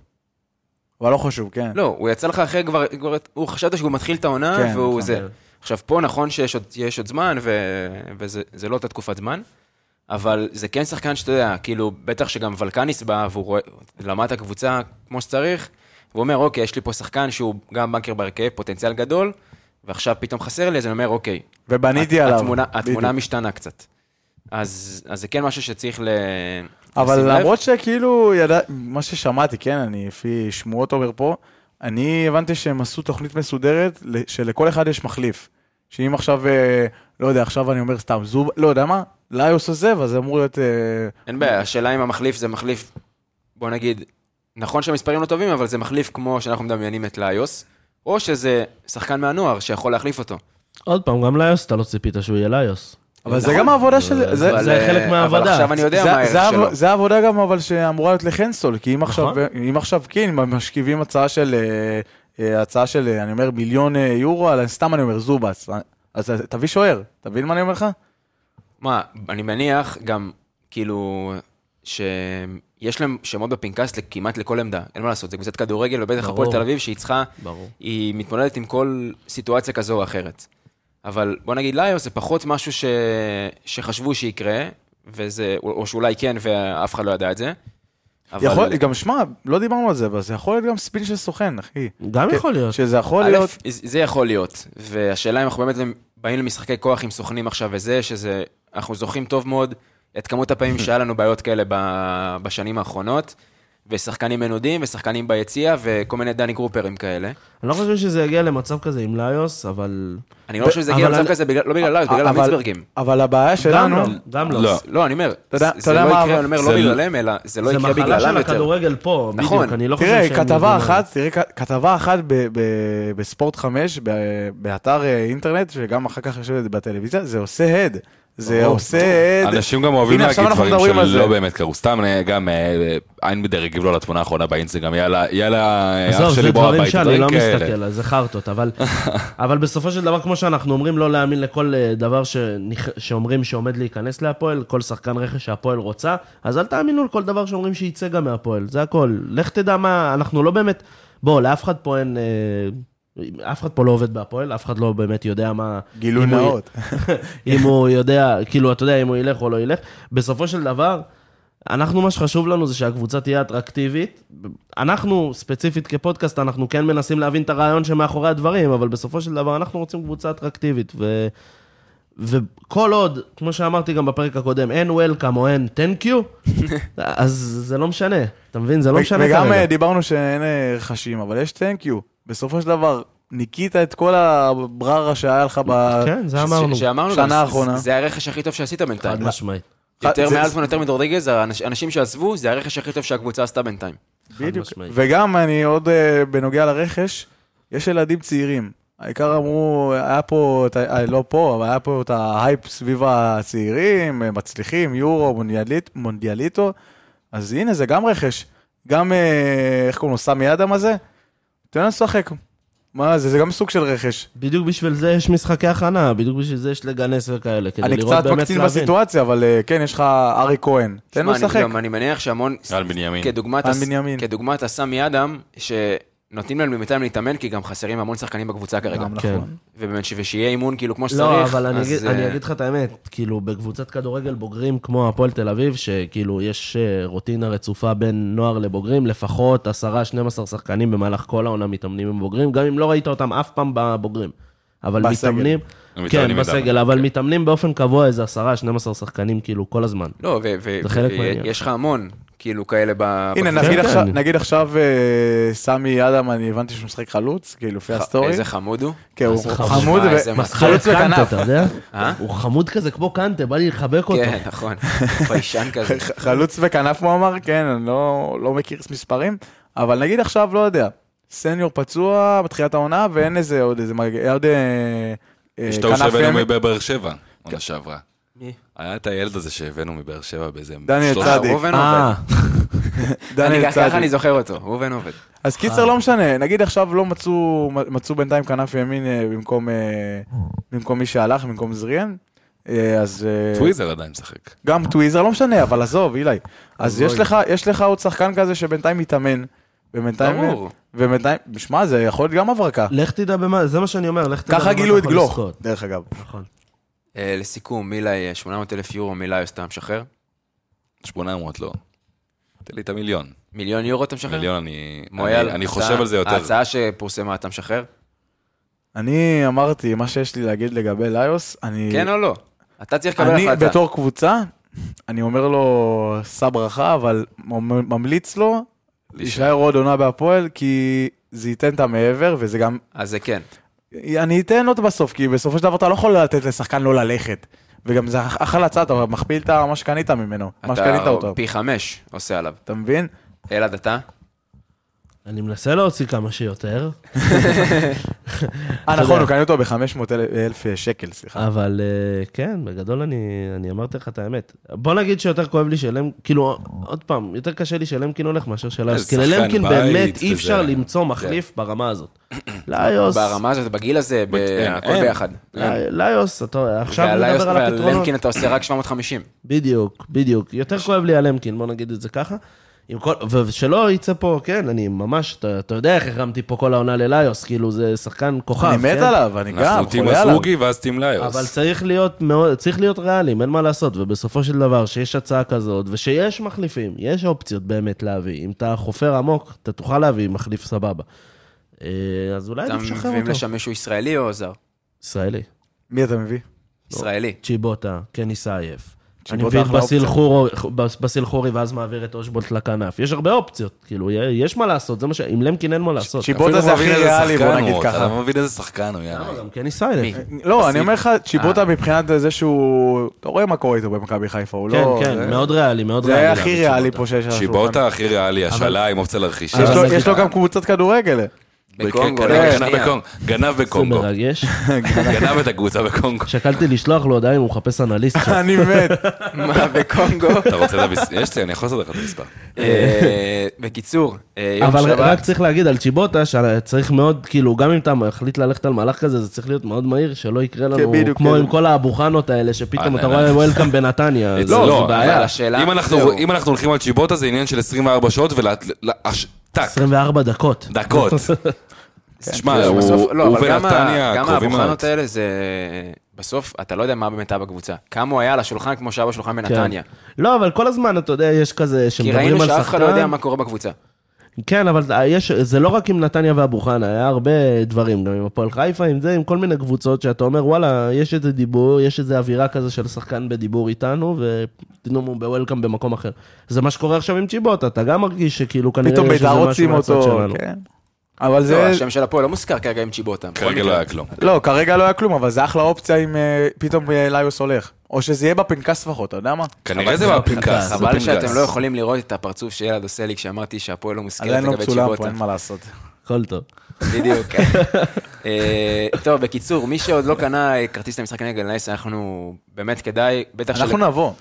אבל לא חשוב, כן. לא, הוא יצא לך אחרי כבר... כבר- הוא חשבת שהוא מתחיל את העונה, כן, והוא נכון. זה. עכשיו, פה נכון שיש עוד, יש עוד זמן, ו... וזה זה לא אותה תקופת זמן, אבל זה כן שחקן שאתה יודע, כאילו, בטח שגם ולקניס בא, והוא רואה, למד את הקבוצה כמו שצריך, והוא אומר, אוקיי, יש לי פה שחקן שהוא גם בנקר בהרכב, פוטנציאל גדול, ועכשיו פתאום חסר לי, אז אני אומר, אוקיי, ובניתי הת- עליו. התמונה, התמונה בדיוק. משתנה קצת. אז, אז זה כן משהו שצריך ל... אבל לשים לב. למרות שכאילו, ידע, מה ששמעתי, כן, אני לפי שמועות עובר פה, אני הבנתי שהם עשו תוכנית מסודרת ל- שלכל אחד יש מחליף. שאם עכשיו, אה, לא יודע, עכשיו אני אומר סתם זוב, לא יודע מה, ליוס עוזב, אז זה אמור להיות... אה, אין בעיה, השאלה אם המחליף זה מחליף, בוא נגיד, נכון שהמספרים לא טובים, אבל זה מחליף כמו שאנחנו מדמיינים את ליוס, או שזה שחקן מהנוער שיכול להחליף אותו. עוד פעם, גם ליוס, אתה לא ציפית שהוא יהיה ליוס. אבל זה גם העבודה של... אבל- זה- נכון. אבל, זה אה, חלק מהעבודה. אבל עכשיו אני יודע זה- מה זה הערך העב- שלו. זה העבודה גם אבל שאמורה להיות לחנסול, כי אם עכשיו, נכון. אם עכשיו כן, אם משכיבים הצעה של, אה, אה, הצעה של, אה, אני אומר, מיליון אה, יורו, על- סתם אני אומר, זובץ, אה, אז אה, תביא שוער, אתה מבין מה אני אומר לך? מה, אני מניח גם, כאילו, שיש להם שמות בפנקס כמעט לכל עמדה, אין מה לעשות, זה קבוצת כדורגל, ובטח הפועל ברור. תל אביב, שהיא צריכה, ברור. היא מתמודדת עם כל סיטואציה כזו או אחרת. אבל בוא נגיד ליוס זה פחות משהו ש... שחשבו שיקרה, וזה, או או שאולי כן ואף אחד לא ידע את זה. אבל... יכול, גם שמע, לא דיברנו על זה, אבל זה יכול להיות גם ספין של סוכן, אחי. גם כן, יכול להיות. שזה יכול א', להיות, זה- זה יכול להיות, והשאלה אם אנחנו באמת באים למשחקי כוח עם סוכנים עכשיו וזה, שזה, אנחנו זוכרים טוב מאוד את כמות הפעמים שהיה לנו בעיות כאלה ב- בשנים האחרונות, ושחקנים מנודים, ושחקנים ביציע, וכל מיני דני גרופרים כאלה. אני לא חושב שזה יגיע למצב כזה עם ליוס, אבל... אני לא חושב שזה הגיע אבל למצב אני- כזה, בגלל- לא בגלל לאוס, בגלל אבל- המצברגים. אבל הבעיה גם שלנו, לא, גם לא. לא. לא, אני אומר, אתה יודע- זה- אתה זה יודע לא מה- יקרה, אני אומר, זה- לא בגללם, אלא זה לא זה יקרה מחלה בגללם של יותר. הכדורגל פה, נכון. בדיוק, אני לא חושב תראה, שהם כתבה יודעים אחת, תראה, כ- כתבה אחת ב- ב- בספורט 5, ב- באתר אה, אינטרנט, וגם אחר כך יושבת בטלוויזיה, זה עושה הד. זה ברור. עושה הד. אנשים גם אוהבים אה, הנה, להגיד עכשיו אנחנו דברים מדברים על שלא זה. באמת קרו. סתם, אה, גם אה, איינבדר הגיב לו לתמונה האחרונה באינסטגרם, יאללה, יאללה, אה, אח עזוב, זה שלי בוא דברים הביתה, שאני דברים לא כאלה. מסתכל, אז זה (laughs) חרטות, אבל, אבל בסופו של דבר, כמו שאנחנו אומרים, לא להאמין לכל אה, דבר שנכ... שאומרים שעומד להיכנס להפועל, כל שחקן רכש שהפועל רוצה, אז אל תאמינו לכל דבר שאומרים שייצא גם מהפועל, זה הכל. לך תדע מה, אנחנו לא באמת, בוא, לאף אחד פה אין... אה, אף אחד פה לא עובד בהפועל, אף אחד לא באמת יודע מה... גילוי אם הוא- נאות. אם הוא יודע, כאילו, אתה יודע אם הוא ילך או לא ילך. בסופו של דבר, אנחנו, מה שחשוב לנו זה שהקבוצה תהיה אטרקטיבית. אנחנו, ספציפית כפודקאסט, אנחנו כן מנסים להבין את הרעיון שמאחורי הדברים, אבל בסופו של דבר אנחנו רוצים קבוצה אטרקטיבית. ו... וכל עוד, כמו שאמרתי גם בפרק הקודם, אין וולקאם או אין תן קיו, (laughs) אז זה לא משנה. אתה מבין? זה לא משנה וגם כרגע. אה, דיברנו שאין אה, רכשים, אבל יש תנקיו. בסופו של דבר, ניקית את כל הבררה שהיה לך ב... כן, זה ש- אמרנו. שאמרנו שנה גם, זה- האחרונה. זה הרכש הכי טוב שעשית בינתיים. חד משמעית. יותר זה- מאלטמן, יותר מדורדגז, האנש- האנשים שעזבו, זה הרכש הכי טוב שהקבוצה עשתה בינתיים. בדיוק. משמעית. וגם אני עוד אה, בנוגע לרכש, יש ילדים צעירים. העיקר אמרו, היה פה, את ה- אה, לא פה, אבל היה פה את ההייפ סביב הצעירים, אה, מצליחים, יורו, מונדיאלית, מונדיאליטו. אז הנה, זה גם רכש. גם, אה, איך קוראים לו, סמי אדם הזה? תן לו לשחק. מה זה, זה גם סוג של רכש. בדיוק בשביל זה יש משחקי הכנה, בדיוק בשביל זה יש לגנס וכאלה, כדי אני לראות באמת קצת להבין. מקצין בסיטואציה, אבל אה, כן, יש לך ארי כהן. תן לו שמע, אני לשחק. גם- אני מניח שהמון... על בנימין. כדוגמת על הס- בנימין. כדוגמת הסמי אדם, שנותנים להם בינתיים להתאמן, כי גם חסרים המון שחקנים בקבוצה כרגע. גם כן. נכון. ובאמת, ש- ושיהיה אימון כאילו כמו שצריך. לא, אבל אני אז, אגיד- אה, אני אגיד לך את האמת, כאילו בקבוצת כדורגל בוגרים כמו הפועל תל אביב, שכאילו יש אה, רוטינה רצופה בין נוער לבוגרים, לפחות 10-12 שחקנים במהלך כל העונה מתאמנים עם בוגרים, גם אם לא ראית אותם אף פעם בבוגרים. אבל בסגל. מתאמנים, הם מתאמנים כן, איתם. בסגל, אבל מתאמנים באופן קבוע איזה 10-12 שחקנים כאילו כל הזמן. לא, ו- ו- זה חלק ו- מהעניין. יש לך המון, כאילו, כאלה ב... הנה, בקבוצה. נגיד כן. עכשיו- נגיד עכשיו אה, סמי אדם, אני הבנתי שהוא משחק חלוץ, כאילו, לפי הסטורי. אה, איזה חמוד הוא. כן, הוא איזה חמוד. חמוד, אה, ו- איזה מסכן. חלוץ קנטה, וכנף. אתה יודע? אה? הוא חמוד כזה כמו קנטה, בא לי לחבק אותו. כן, (laughs) נכון. ביישן כזה. ח- חלוץ וכנף הוא אמר, כן, אני לא לא מכיר מספרים, אבל נגיד עכשיו, לא יודע, סניור פצוע בתחילת העונה, ואין איזה עוד איזה, מג- עוד אה, אה, אשתו כנף כן. שהבאנו ימי. מבאר שבע, עונה שעברה. מי? היה את הילד הזה שהבאנו מבאר שבע באיזה... דניאל שלוש- אה, צדיק. ראובן אה, עובד. אני- דניאל ככה אני צדיק. זוכר אותו, ראובן עובד. אז קיצר, לא משנה, נגיד עכשיו לא מצאו, מצאו בינתיים כנף ימין אה, במקום אה, במקום מי שהלך, במקום זריאן, אה, אז... אה, טוויזר עדיין משחק. גם טוויזר, לא משנה, אבל עזוב, אילי. אז יש לך, יש לך עוד שחקן כזה שבינתיים מתאמן, ובינתיים... ברור. לא, ובינתיים, שמע, זה יכול להיות גם הברקה. לך תדע במה, זה מה שאני אומר, לך תדע במה ככה אתה גילו את יכול גלוך, לזכות. דרך אגב. נכון. אה, לסיכום, מילאי, 800 אלף יורו, מילאי, אז אתה משחרר? 800 לא. תן לי את המיליון. מיליון יורו אתה משחרר? מיליון אני... מויאל, אני- אני אתה- חושב על זה יותר. ההצעה שפורסמה, אתה משחרר? אני אמרתי, מה שיש לי להגיד לגבי ליוס, אני... כן או לא? אתה צריך לקבל אני החלטה. בתור קבוצה, אני אומר לו, סע ברכה, אבל ממ- ממליץ לו להישאר עוד עונה בהפועל, כי זה ייתן את המעבר, וזה גם אז זה כן. אני אתן עוד בסוף, כי בסופו של דבר אתה לא יכול לתת לשחקן לא ללכת. וגם זה אח- אחלה הצעה, אתה מכפיל את ה- מה שקנית ממנו, מה שקנית אתה אותו. פי חמש עושה עליו. אתה מבין? אלעד, אתה? אני מנסה להוציא כמה שיותר, אה, נכון, הוא קנה אותו ב-500 אלף אה, שקל, סליחה. אבל אה, כן, בגדול אני, אני אמרתי לך את האמת. בוא נגיד שיותר כואב לי שלם, כאילו, עוד פעם, יותר קשה לי שלמקין הולך מאשר שלאיוס. כי שחקן ללמקין בית באמת וזה- אי אפשר למצוא כן. מחליף ברמה (coughs) הזאת. לאיוס, ברמה הזאת, בגיל הזה, ב- אין, הכל אין. ביחד. כן. לא- לאיוס, אתה- עכשיו ועל נדבר על הפתרונות. אה, למקין אתה עושה רק 750. בדיוק, בדיוק. יותר כואב לי על למקין, בוא נגיד את זה ככה. עם כל, ושלא יצא פה, כן, אני ממש, אתה, אתה יודע איך הרמתי פה כל העונה לליוס, כאילו זה שחקן כוכב. אני מת כן? עליו, אני גם, אנחנו טים חולה עליו. אסוגי ואז טים ליוס. אבל צריך להיות, מאוד, צריך להיות ריאליים, אין מה לעשות. ובסופו של דבר, שיש הצעה כזאת, ושיש מחליפים, יש אופציות באמת להביא. אם אתה חופר עמוק, אתה תוכל להביא מחליף סבבה. אה, אז אולי אתה עדיף לשחרר מביאים אותו. לא. לשם מישהו ישראלי או זר? ישראלי. מי אתה מביא? ישראלי. צ'יבוטה, כן ייסייף. אני צ'יבוטה מביא את אחלה בסיל אופציה. חורו- בס- בסיל חורי ואז מעביר את אושבולט לכנף. יש הרבה אופציות, כאילו, י- יש מה לעשות, זה מה ש... עם למקין אין מה לעשות. צ'יבוטה זה הכי ריאלי, בוא נגיד אתה ככה. לא מבין איזה שחקן הוא, יאללה. אה, למה? גם כן ייסייף. לא, אני אומר לך, צ'יבוטה מבחינת זה שהוא... אתה רואה מה קורה איתו במכבי חיפה, הוא כן, לא... זה- כן, מאוד ריאלי, מאוד זה ריאלי. היה גם הכי צ'יבוטה. ריאלי פה שיש על השולחן. שיבוטה הכי ריאלי, השאלה עם אופציה לרכישה. אבל יש לו- זה יש לו גם (laughs) קבוצת כדורגל. בקונגו, כן, לא, גנב שנייה. בקונגו. גנב זה בקונגו. (laughs) מרגש. גנב את הקבוצה בקונגו. שקלתי לשלוח לו הודעה אם הוא מחפש אנליסט (laughs) שם. אני (laughs) מת. (laughs) מה, בקונגו? (laughs) אתה רוצה את המספר? יש לי, אני יכול לעשות לך את המספר. אה, בקיצור, אה, יום אבל שבת. רק צריך להגיד על צ'יבוטה, שצריך מאוד, כאילו, גם אם אתה מחליט ללכת על מהלך כזה, זה צריך להיות מאוד מהיר, שלא יקרה לנו, בדיוק, כמו כן. עם כל האבוחנות האלה, שפתאום אה, אתה לא, רואה לא. (laughs) וולקאם בנתניה. זה- אצלו, זה לא, אבל בעיה. לא, השאלה- אם אנחנו- זהו. אם אנחנו הולכים על צ'יבוטה זה עניין של 24 שעות ול... ל- הש- טאק, 24 דקות. (laughs) כן. דקות. שמע, בסוף- הוא לא, הוא אבל גם ה- ונתניה גם קרובים מאוד. האבחנות האלה זה... בסוף, אתה לא יודע מה באמת היה בקבוצה. כמה הוא היה על השולחן כמו שהיה בשולחן בנתניה. כן. לא, אבל כל הזמן, אתה יודע, יש כזה, כי שמדברים על שחקן. ראינו שאף אחד לא יודע מה קורה בקבוצה. כן, אבל זה- יש, זה לא רק עם נתניה ואבו חנה, היה הרבה דברים, גם עם הפועל חיפה, עם זה, עם כל מיני קבוצות, שאתה אומר, וואלה, יש איזה דיבור, יש איזה אווירה כזה של שחקן בדיבור איתנו, ופתאום הוא בוולקאם במקום אחר. זה מה שקורה עכשיו עם צ'יבוט, אתה גם מרגיש שכאילו כנראה פתאום יש איזה בית"ר משהו רוצים מהצד אותו. שלנו. כן. אבל לא, זה... השם של הפועל לא מוזכר כרגע עם צ'יבוטה. בכל כרגע מקרה. לא היה כלום. לא, כרגע לא היה כלום, אבל זה אחלה אופציה אם אה, פתאום אה, ליוס הולך. או שזה יהיה בפנקס לפחות, אתה יודע מה? כן, כנראה זה בפנקס. זה חבל שאתם בפנקס. לא יכולים לראות את הפרצוף של ילד עושה לי כשאמרתי שהפועל לא מוזכרת עדיין לא לגבי מצולם צ'יבוטה. פה, אין מה לעשות. הכל טוב. בדיוק. כן. (laughs) אה, טוב, בקיצור, מי שעוד לא קנה אה, כרטיס למשחק נגד גלנס, אנחנו באמת כדאי, בטח של... אנחנו נבוא.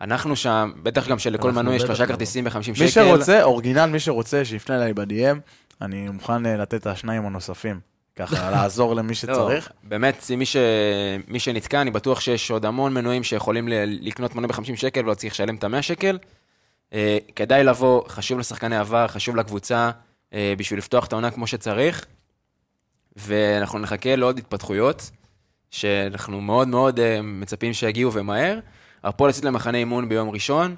אנחנו שם, בטח גם שלכל אנחנו מנוי יש בטח שלושה נבוא. כרטיסים ב-50 שקל. מי שרוצה, אורגינל, מי שרוצה, שיפנה אליי ב-DM, אני מוכן אה, לתת את השניים הנוספים. (laughs) ככה, לעזור למי לא, שצריך. באמת, מי, ש... מי שנתקע, אני בטוח שיש עוד המון מנויים שיכולים ל... לקנות מנוי ב-50 שקל ולא צריך לשלם את ה-100 שקל. אה, כדאי לבוא, חשוב לשחקני עבר, חשוב לקבוצה, אה, בשביל לפתוח את העונה כמו שצריך. ואנחנו נחכה לעוד התפתחויות, שאנחנו מאוד מאוד אה, מצפים שיגיעו ומהר. הפועל יוצאת למחנה אימון ביום ראשון.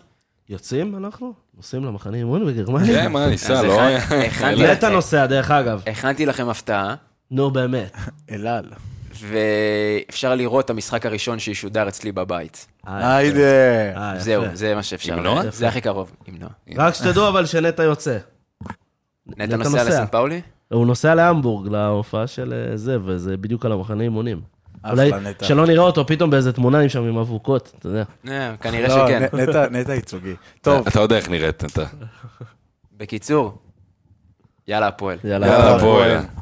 יוצאים אנחנו? נוסעים למחנה אימון בגרמניה? כן, מה, ניסה, אז לא? (laughs) הכנ- הכנתי נטע לכם- נוסע, דרך אגב. הכנתי לכם הפתעה. נו, באמת. אלעל. ואפשר לראות את המשחק הראשון שישודר אצלי בבית. אה, יפה. היידה. אה, יפה. זהו, זה מה שאפשר. עם נועה? זה הכי קרוב, עם נועה. רק שתדעו אבל שנטע יוצא. נטע נוסע לסן פאולי? הוא נוסע להמבורג, להופעה של אה, זה, וזה בדיוק על המחנה אימונים. אחלה, אולי נטע. שלא נראה אותו פתאום באיזה תמונה עם שם עם אבוקות, אתה יודע. אה, כנראה לא, שכן. נ- נטע- (laughs) נטע ייצוגי. טוב, אתה יודע איך נראית, אתה. בקיצור, יאללה הפועל. יאללה. יאללה, בואי.